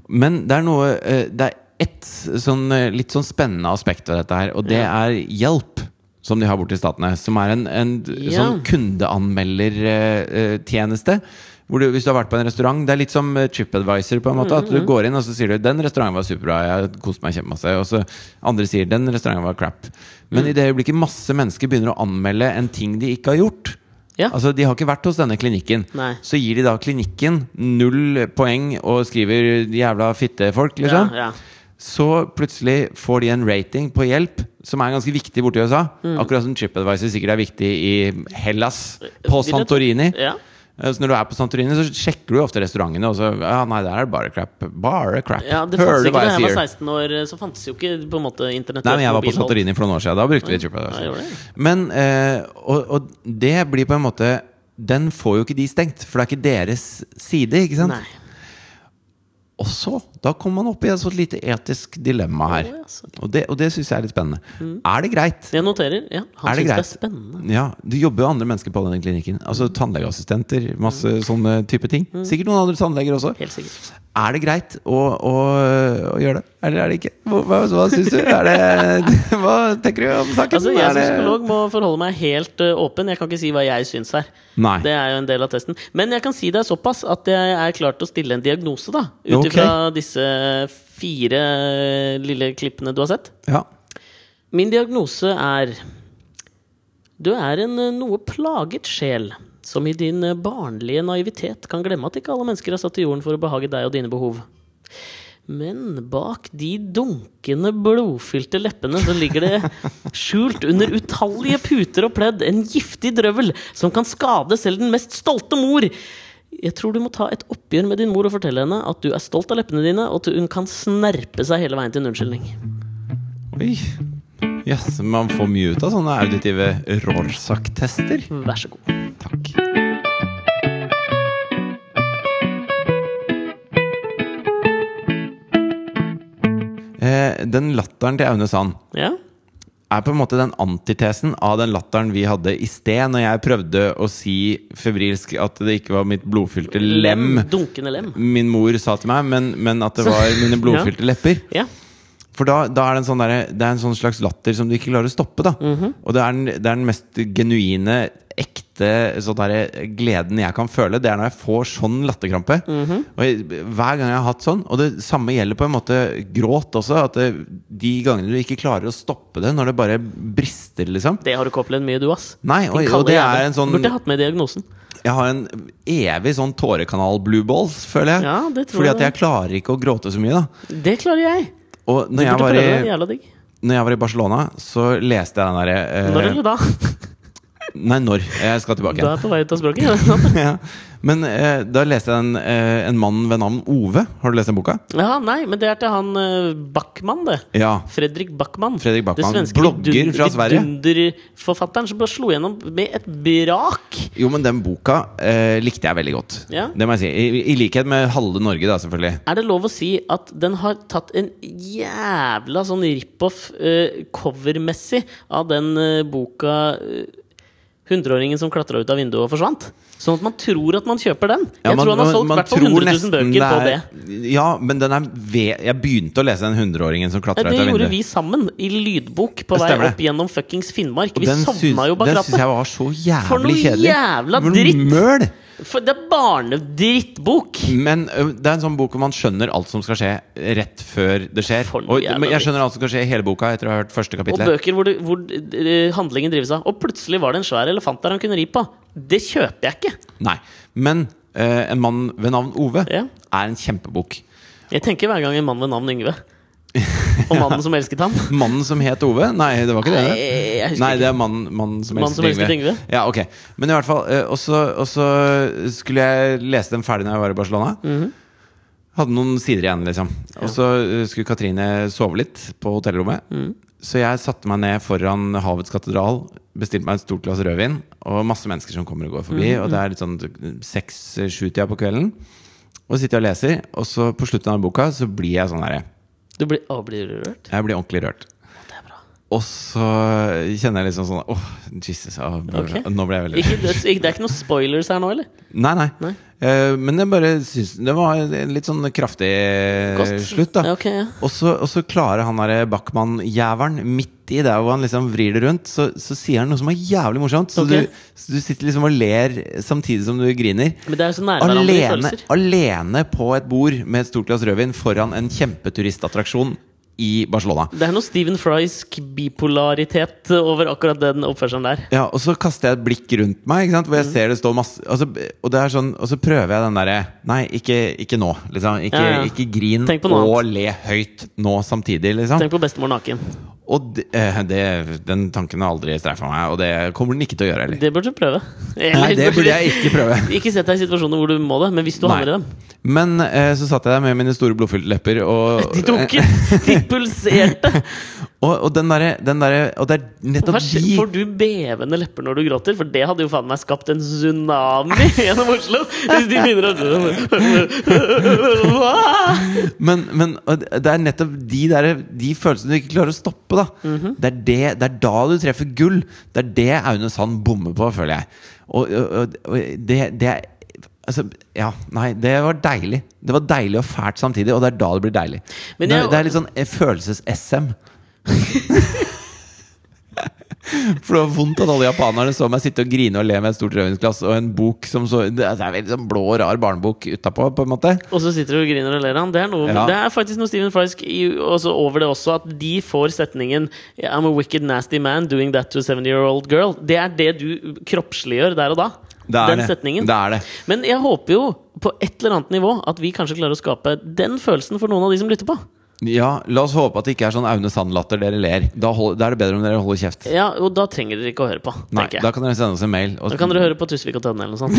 Men det er noe eh, Det er ett sånn, eh, litt sånn spennende aspekt ved dette her, og det er hjelp. som de har borte i Statene. Som er en, en Ja. sånn kundeanmeldertjeneste. Hvor du, hvis du har vært på en restaurant Det er litt som eh, TripAdvisor. på en måte At Mm-hmm. du går inn og så sier du 'Den restauranten var superbra. Jeg koste meg kjempemasse.' Og så andre sier 'Den restauranten var crap'. Mm. Men i det øyeblikket masse mennesker begynner å anmelde en ting de ikke har gjort Ja. Altså De har ikke vært hos denne klinikken. Nei. Så gir de da klinikken null poeng og skriver 'jævla fittefolk', liksom. Ja, ja. Så plutselig får de en rating på hjelp, som er ganske viktig borti USA. Mm. Akkurat som TripAdvisor sikkert er viktig i Hellas, på Vil jeg tro. Santorini. Ja. Eh, Så når du er på Santorini, så sjekker du ofte restaurantene, og så Ja, nei, der er det bare crap. Bare crap. Ja, det Hører fantes du ikke hva da jeg jeg var sier? 16 år, eh, så fantes jo ikke på en måte internett. Nei, men jeg var på mobilhold. Santorini for noen år siden. Da brukte vi Ja, jeg gjorde det. TripAdvisor. Men, eh, og, og det blir på en måte Den får jo ikke de stengt, for det er ikke deres side, ikke sant? Nei. Og så, da kommer man opp i et sånt lite etisk dilemma her. Oi, altså. Og det, og det syns jeg er litt spennende. Er det greit? Jeg noterer. Mm. Ja, han Er det syns det er greit? spennende. Mm. Ja, Du jobber jo andre mennesker på denne klinikken. Altså Tannlegeassistenter, masse sånne type ting. Sikkert noen andre tannleger også. Helt sikkert. Er det greit å, å, å gjøre det, eller er det ikke? Hva, hva, hva syns du? Er det, *laughs* hva tenker du om saken? Altså, Jeg Er som det- psykolog må forholde meg helt ø, åpen. Jeg kan ikke si hva jeg syns her. Nei. Det er jo en del av testen. Men jeg kan si deg såpass at jeg er klar til å stille en diagnose, da. Ut Ok. ifra disse fire ø, lille klippene du har sett. Ja. Min diagnose er Du er en eh, noe plaget sjel som i din eh, barnlige naivitet kan glemme at ikke alle mennesker er satt til jorden for å behage deg og dine behov. Men bak de dunkende, blodfylte leppene så ligger det skjult under utallige puter og pledd en giftig drøvel som kan skade selv den mest stolte mor. Jeg tror du må ta et oppgjør med din mor og fortelle henne at du er stolt av leppene dine, og at hun kan snerpe seg hele veien til en unnskyldning. Oi. Yes, man får mye ut av sånne auditive Rorsak-tester. Vær så god. Takk. Eh, Den latteren til Aune Sand Ja? er på en måte den antitesen av den latteren vi hadde i sted, når jeg prøvde å si febrilsk at det ikke var mitt blodfylte lem Dunkende lem. min mor sa til meg, men, men at det var mine blodfylte lepper. Ja. For da, da er det, en sånn derre- det er en sånn slags latter som du ikke klarer å stoppe. Da. Mhm. Og det er, den, det er den mest genuine, ekte sånn derre gleden jeg kan føle. Det er når jeg får sånn latterkrampe. Mhm. Og jeg, Hver gang jeg har hatt sånn. Og det samme gjelder på en måte gråt også. At det, de gangene du ikke klarer å stoppe det, når det bare brister, liksom. Det har du ikke opplevd mye, du, ass. Nei, og, Din og kalde det jævel. er en sånn Burde jeg hatt med diagnosen. jeg har en evig sånn tårekanal-blue balls, føler jeg. Ja, det tror Fordi jeg at det. jeg klarer ikke å gråte så mye, da. Det klarer jeg. Og Du når jeg, burde var prøve det. i, Jævla digg. når jeg var i Barcelona, så leste jeg den Når derre eller da? Nei, når. Jeg skal tilbake Du igjen. er på vei ut av språket. *laughs* ja. Men eh, da leste jeg en, eh, en mann ved navn Ove. Har du lest den boka? *laughs* Ja, nei, men det er til han eh, Backman, det. Ja. Fredrik Backman. Fredrik Backman, Det svenske blogger vidun- fra Sverige. Vidunderforfatteren som bare slo gjennom med et brak. Jo, men den boka eh, likte jeg veldig godt. Ja. Det må jeg si. I, I likhet med halve Norge, da, selvfølgelig. Er det lov å si at den har tatt en jævla sånn rip-off eh, covermessig av den eh, boka eh, 'Hundreåringen som klatra ut av vinduet og forsvant'? Sånn at man tror at man kjøper den. Ja, Jeg tror han har solgt i hvert fall tror 100 nesten 000 bøker på det. er- Ja, men den er ved Jeg begynte å lese den hundreåringen som klatra Ja, ut av det vinduet. gjorde vi sammen, i lydbok, på vei Stemmer det. opp gjennom fuckings Finnmark. Vi den sovna jo bak Den syns rattet. jeg var så For jævlig noe kjedelig. jævla For noe dritt. Møl! For det er barnedrittbok! Men ø, det er en sånn bok hvor man skjønner alt som skal skje, rett før det skjer. For noe Og, jævla men jeg dritt. skjønner alt som skal skje i hele boka etter å ha hørt første Og kapittel. bøker hvor, det, hvor eh, handlingen drives av. Og plutselig var det en svær elefant der han kunne ri på. Det kjøper jeg ikke. Nei. Men ø, En mann ved navn Ove Ja. er en kjempebok. Jeg tenker hver gang en mann ved navn Yngve. *laughs* Og mannen som elsket ham. Mannen som het Ove? Nei, det var ikke Nei, det. jeg husker Nei, ikke. det er mannen mannen som Mannen som elsket elsket Yngve. Yngve. Ja, ok Men i hvert fall eh, Og så og så skulle jeg lese den ferdig når jeg var i Barcelona. Mhm. Hadde noen sider igjen, liksom. Og så eh, skulle Katrine sove litt på hotellrommet. Mhm. Så jeg satte meg ned foran Havets katedral, bestilte meg et stort glass rødvin, og masse mennesker som kommer og går forbi, Mhm, og det er litt sånn seks-sju-tida på kvelden. Og så sitter jeg og leser, og så på slutten av boka så blir jeg sånn herre Du blir, å, blir du rørt? Jeg blir ordentlig rørt. Det er bra. Og så kjenner jeg liksom sånn Åh, Jesus. ah, Ok. Nå ble jeg veldig Ikke, det, ikke, det er ikke noen spoilers her nå, eller? Nei, nei. Nei. Eh, men jeg bare syns det var en litt sånn kraftig Kost. slutt, da. Ja, ok, ja. Og så, og så klarer han derre Backman-jævelen, midt i der hvor han liksom vrir det rundt, så, så sier han noe som er jævlig morsomt. Så, Ok. du, så du sitter liksom og ler samtidig som du griner. Men det er jo så nære hverandre i Alene, følelser. alene på et bord med et stort glass rødvin foran en kjempeturistattraksjon i Barcelona. Det er noe Stephen Frysk bipolaritet over akkurat den oppførselen der. Ja, og så kaster jeg et blikk rundt meg, ikke sant? hvor jeg Mm. ser det står masse altså, og, det er sånn, og så prøver jeg den derre Nei, ikke, ikke nå. Liksom. Ikke, Ja, ja. ikke grin Tenk på noe og le høyt nå samtidig, liksom. Tenk på bestemor naken. Og det, eh, det, den tanken har aldri streifa meg, og det kommer den ikke til å gjøre heller. Det burde du prøve. Nei, det burde jeg ikke prøve. *laughs* Ikke sett deg i situasjoner hvor du må Sånn det, men hvis du havner i dem Men eh, så satt jeg der med mine store blodfylte lepper, og, *laughs* eh, De dunket! De pulserte! og, og den derre den derre- Og det er nettopp Hva skjer? de Får du bevende lepper når du gråter? For det hadde jo faen meg skapt en tsunami *laughs* gjennom Oslo! Hvis de begynner *laughs* å Men, men og det det er nettopp de, der, de følelsene du ikke klarer å stoppe. Da. Mhm. det, er det, det er da du treffer gull. Det er det Aune Sand bommer på, føler jeg. Og, og, og det, det er Altså, ja, nei, det var deilig. Det var deilig og fælt samtidig, og det er da det blir deilig. Men det, jeg- det er litt sånn eh, følelses-SM. *laughs* For det var vondt at alle japanerne så meg sitte og grine og le med et stort rødvinsglass og en bok som så Det er en veldig sånn blå, rar barnebok utapå, på en måte. Og så sitter du og griner og ler av han. Det er, noe, Ja. det er faktisk noe Stephen Frysk i- også over det også, at de får setningen I'm a wicked nasty man doing that to a 70-year-old girl. Det er det du kroppsliggjør der og da. Det er den det. setningen. Det er det. Men jeg håper jo på et eller annet nivå at vi kanskje klarer å skape den følelsen for noen av de som lytter på. Ja, la oss håpe at det ikke er sånn Aune Sand-latter dere ler. Da, hold, da er det bedre om dere holder kjeft. Ja, Og da trenger dere ikke å høre på. Nei, tenker jeg. Da kan dere sende oss en mail. Og, Da kan dere høre på Tusvik og Tønne eller noe sånt.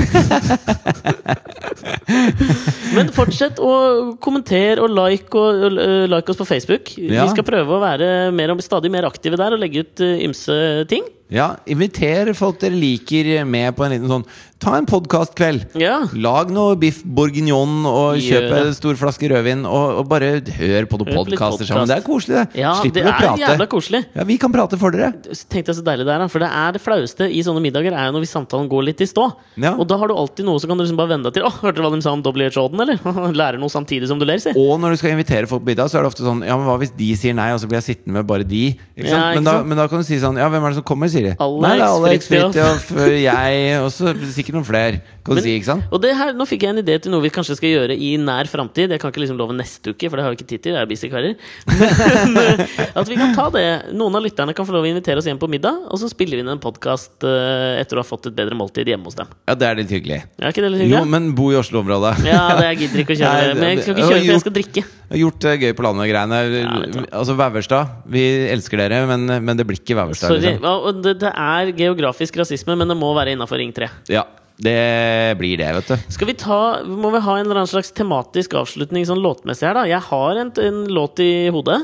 *laughs* Men fortsett å kommentere og like, og, og, øh, like oss på Facebook. Ja. Vi skal prøve å være mer, og- stadig mer aktive der og legge ut øh, ymse ting. Ja, Inviter folk dere liker med på en liten sånn Ta en podkastkveld! Ja. Lag noe biff bourguignon og Gjør kjøp det. en stor flaske rødvin. Og, og bare hør på noen Hør på litt podkaster sammen. podcast. Det er koselig, det. Ja, det Slipper er å prate. jævla koselig. Ja, Vi kan prate for dere. Så tenkte jeg så deilig det er, da. For det er det flaueste i sånne middager er jo når vi samtalen går litt i stå. Ja. Og da har du alltid noe som kan du liksom bare vende deg til. Å, hørte du hva de sa om WHO-en, eller? *laughs* Lærer noe samtidig som du ler, si. Og når du skal invitere folk på middag, så er det ofte sånn Ja, men hva hvis de sier nei, og så blir jeg sittende med bare de? Ikke sant? Ja, ikke men, da, sant? men da kan du si sånn Ja, hvem er det som kommer, sier de. Alex, nei, det er Alex Fridtjof. Fridtjof, jeg, og så sikkert noen flere. Kan Men- du si, ikke sant? Og det her, Nå fikk jeg en idé til noe vi kanskje skal gjøre i nær framtid. Jeg kan ikke liksom love neste uke, for det har vi ikke tid til. Jeg er busy karer. Men *laughs* eh, at vi kan ta det. Noen av lytterne kan få lov å invitere oss hjem på middag, og så spiller vi inn en podkast etter å ha fått et bedre måltid hjemme hos dem. Ja, det er litt hyggelig. Er ikke det litt Jo, hyggelig? men bo i Oslo-området. Ja, det jeg gidder ikke å *laughs* Nei, kjøre. det- Men jeg skal ikke det- kjøre, for gjort- jeg skal drikke. Jeg har Gjort det gøy på landet-greiene. vet du hva. altså Veverstad. Vi elsker dere, men, men det blir ikke Veverstad. Sorry. Liksom. Ja, og Det, det er geografisk rasisme, men det må være innafor Ring 3. Ja, det blir det, vet du. Skal vi ta, Må vi ha en eller annen slags tematisk avslutning sånn låtmessig her, da? Jeg har en, en låt i hodet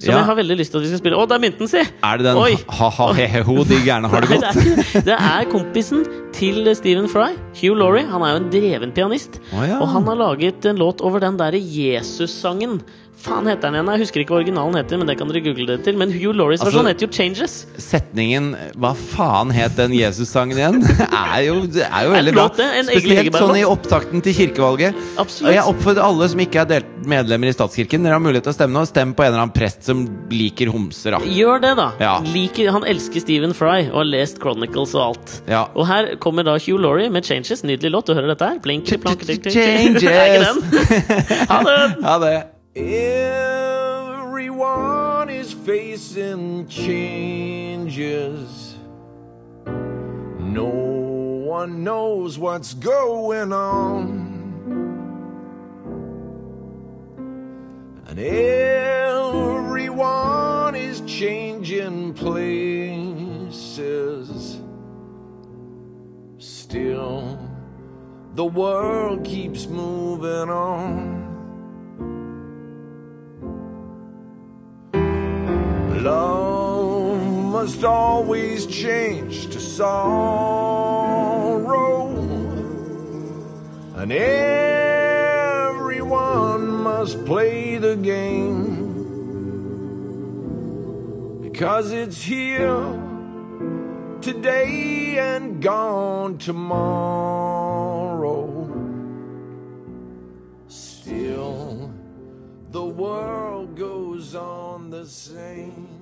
som Ja. jeg har veldig lyst til at vi skal spille. Å, det er mynten, si! Er det den Oi. ha-ha-he-ho, de gærne har det Nei, *laughs* det, godt? er ikke, det. det er kompisen til Stephen Fry, Hugh Laurie. Han er jo en dreven pianist. Å, ja. Og han har laget en låt over den derre Jesus-sangen. Faen heter den igjen? Jeg husker ikke hva originalen heter, men det kan dere google det til. Men Hugh Lauries Altså- versjon heter jo 'Changes'. Setningen 'Hva faen het den Jesus-sangen igjen?' *laughs* er jo, det er jo veldig bra. låt, det. En Spesielt Egil-Egeberg-låt. sånn i opptakten til kirkevalget. Absolutt. Og jeg oppfordrer alle som ikke er delt medlemmer i statskirken, dere har mulighet til å stemme nå. Stem på en eller annen prest som liker homser, da. Gjør det, da. Ja. Liker, han elsker Stephen Fry og har lest Chronicles og alt. Ja. Og her kommer da Hugh Laurie med 'Changes'. Nydelig låt. Du hører dette her? Blink, plank, blink, *laughs* blink. Changes. Er ikke den? *laughs* Ha det! Ha det. Everyone is facing changes. No one knows what's going on. And everyone is changing places. Still, the world keeps moving on. Love must always change to sorrow, and everyone must play the game. Cause it's here today and gone tomorrow. Still, the world goes on the same.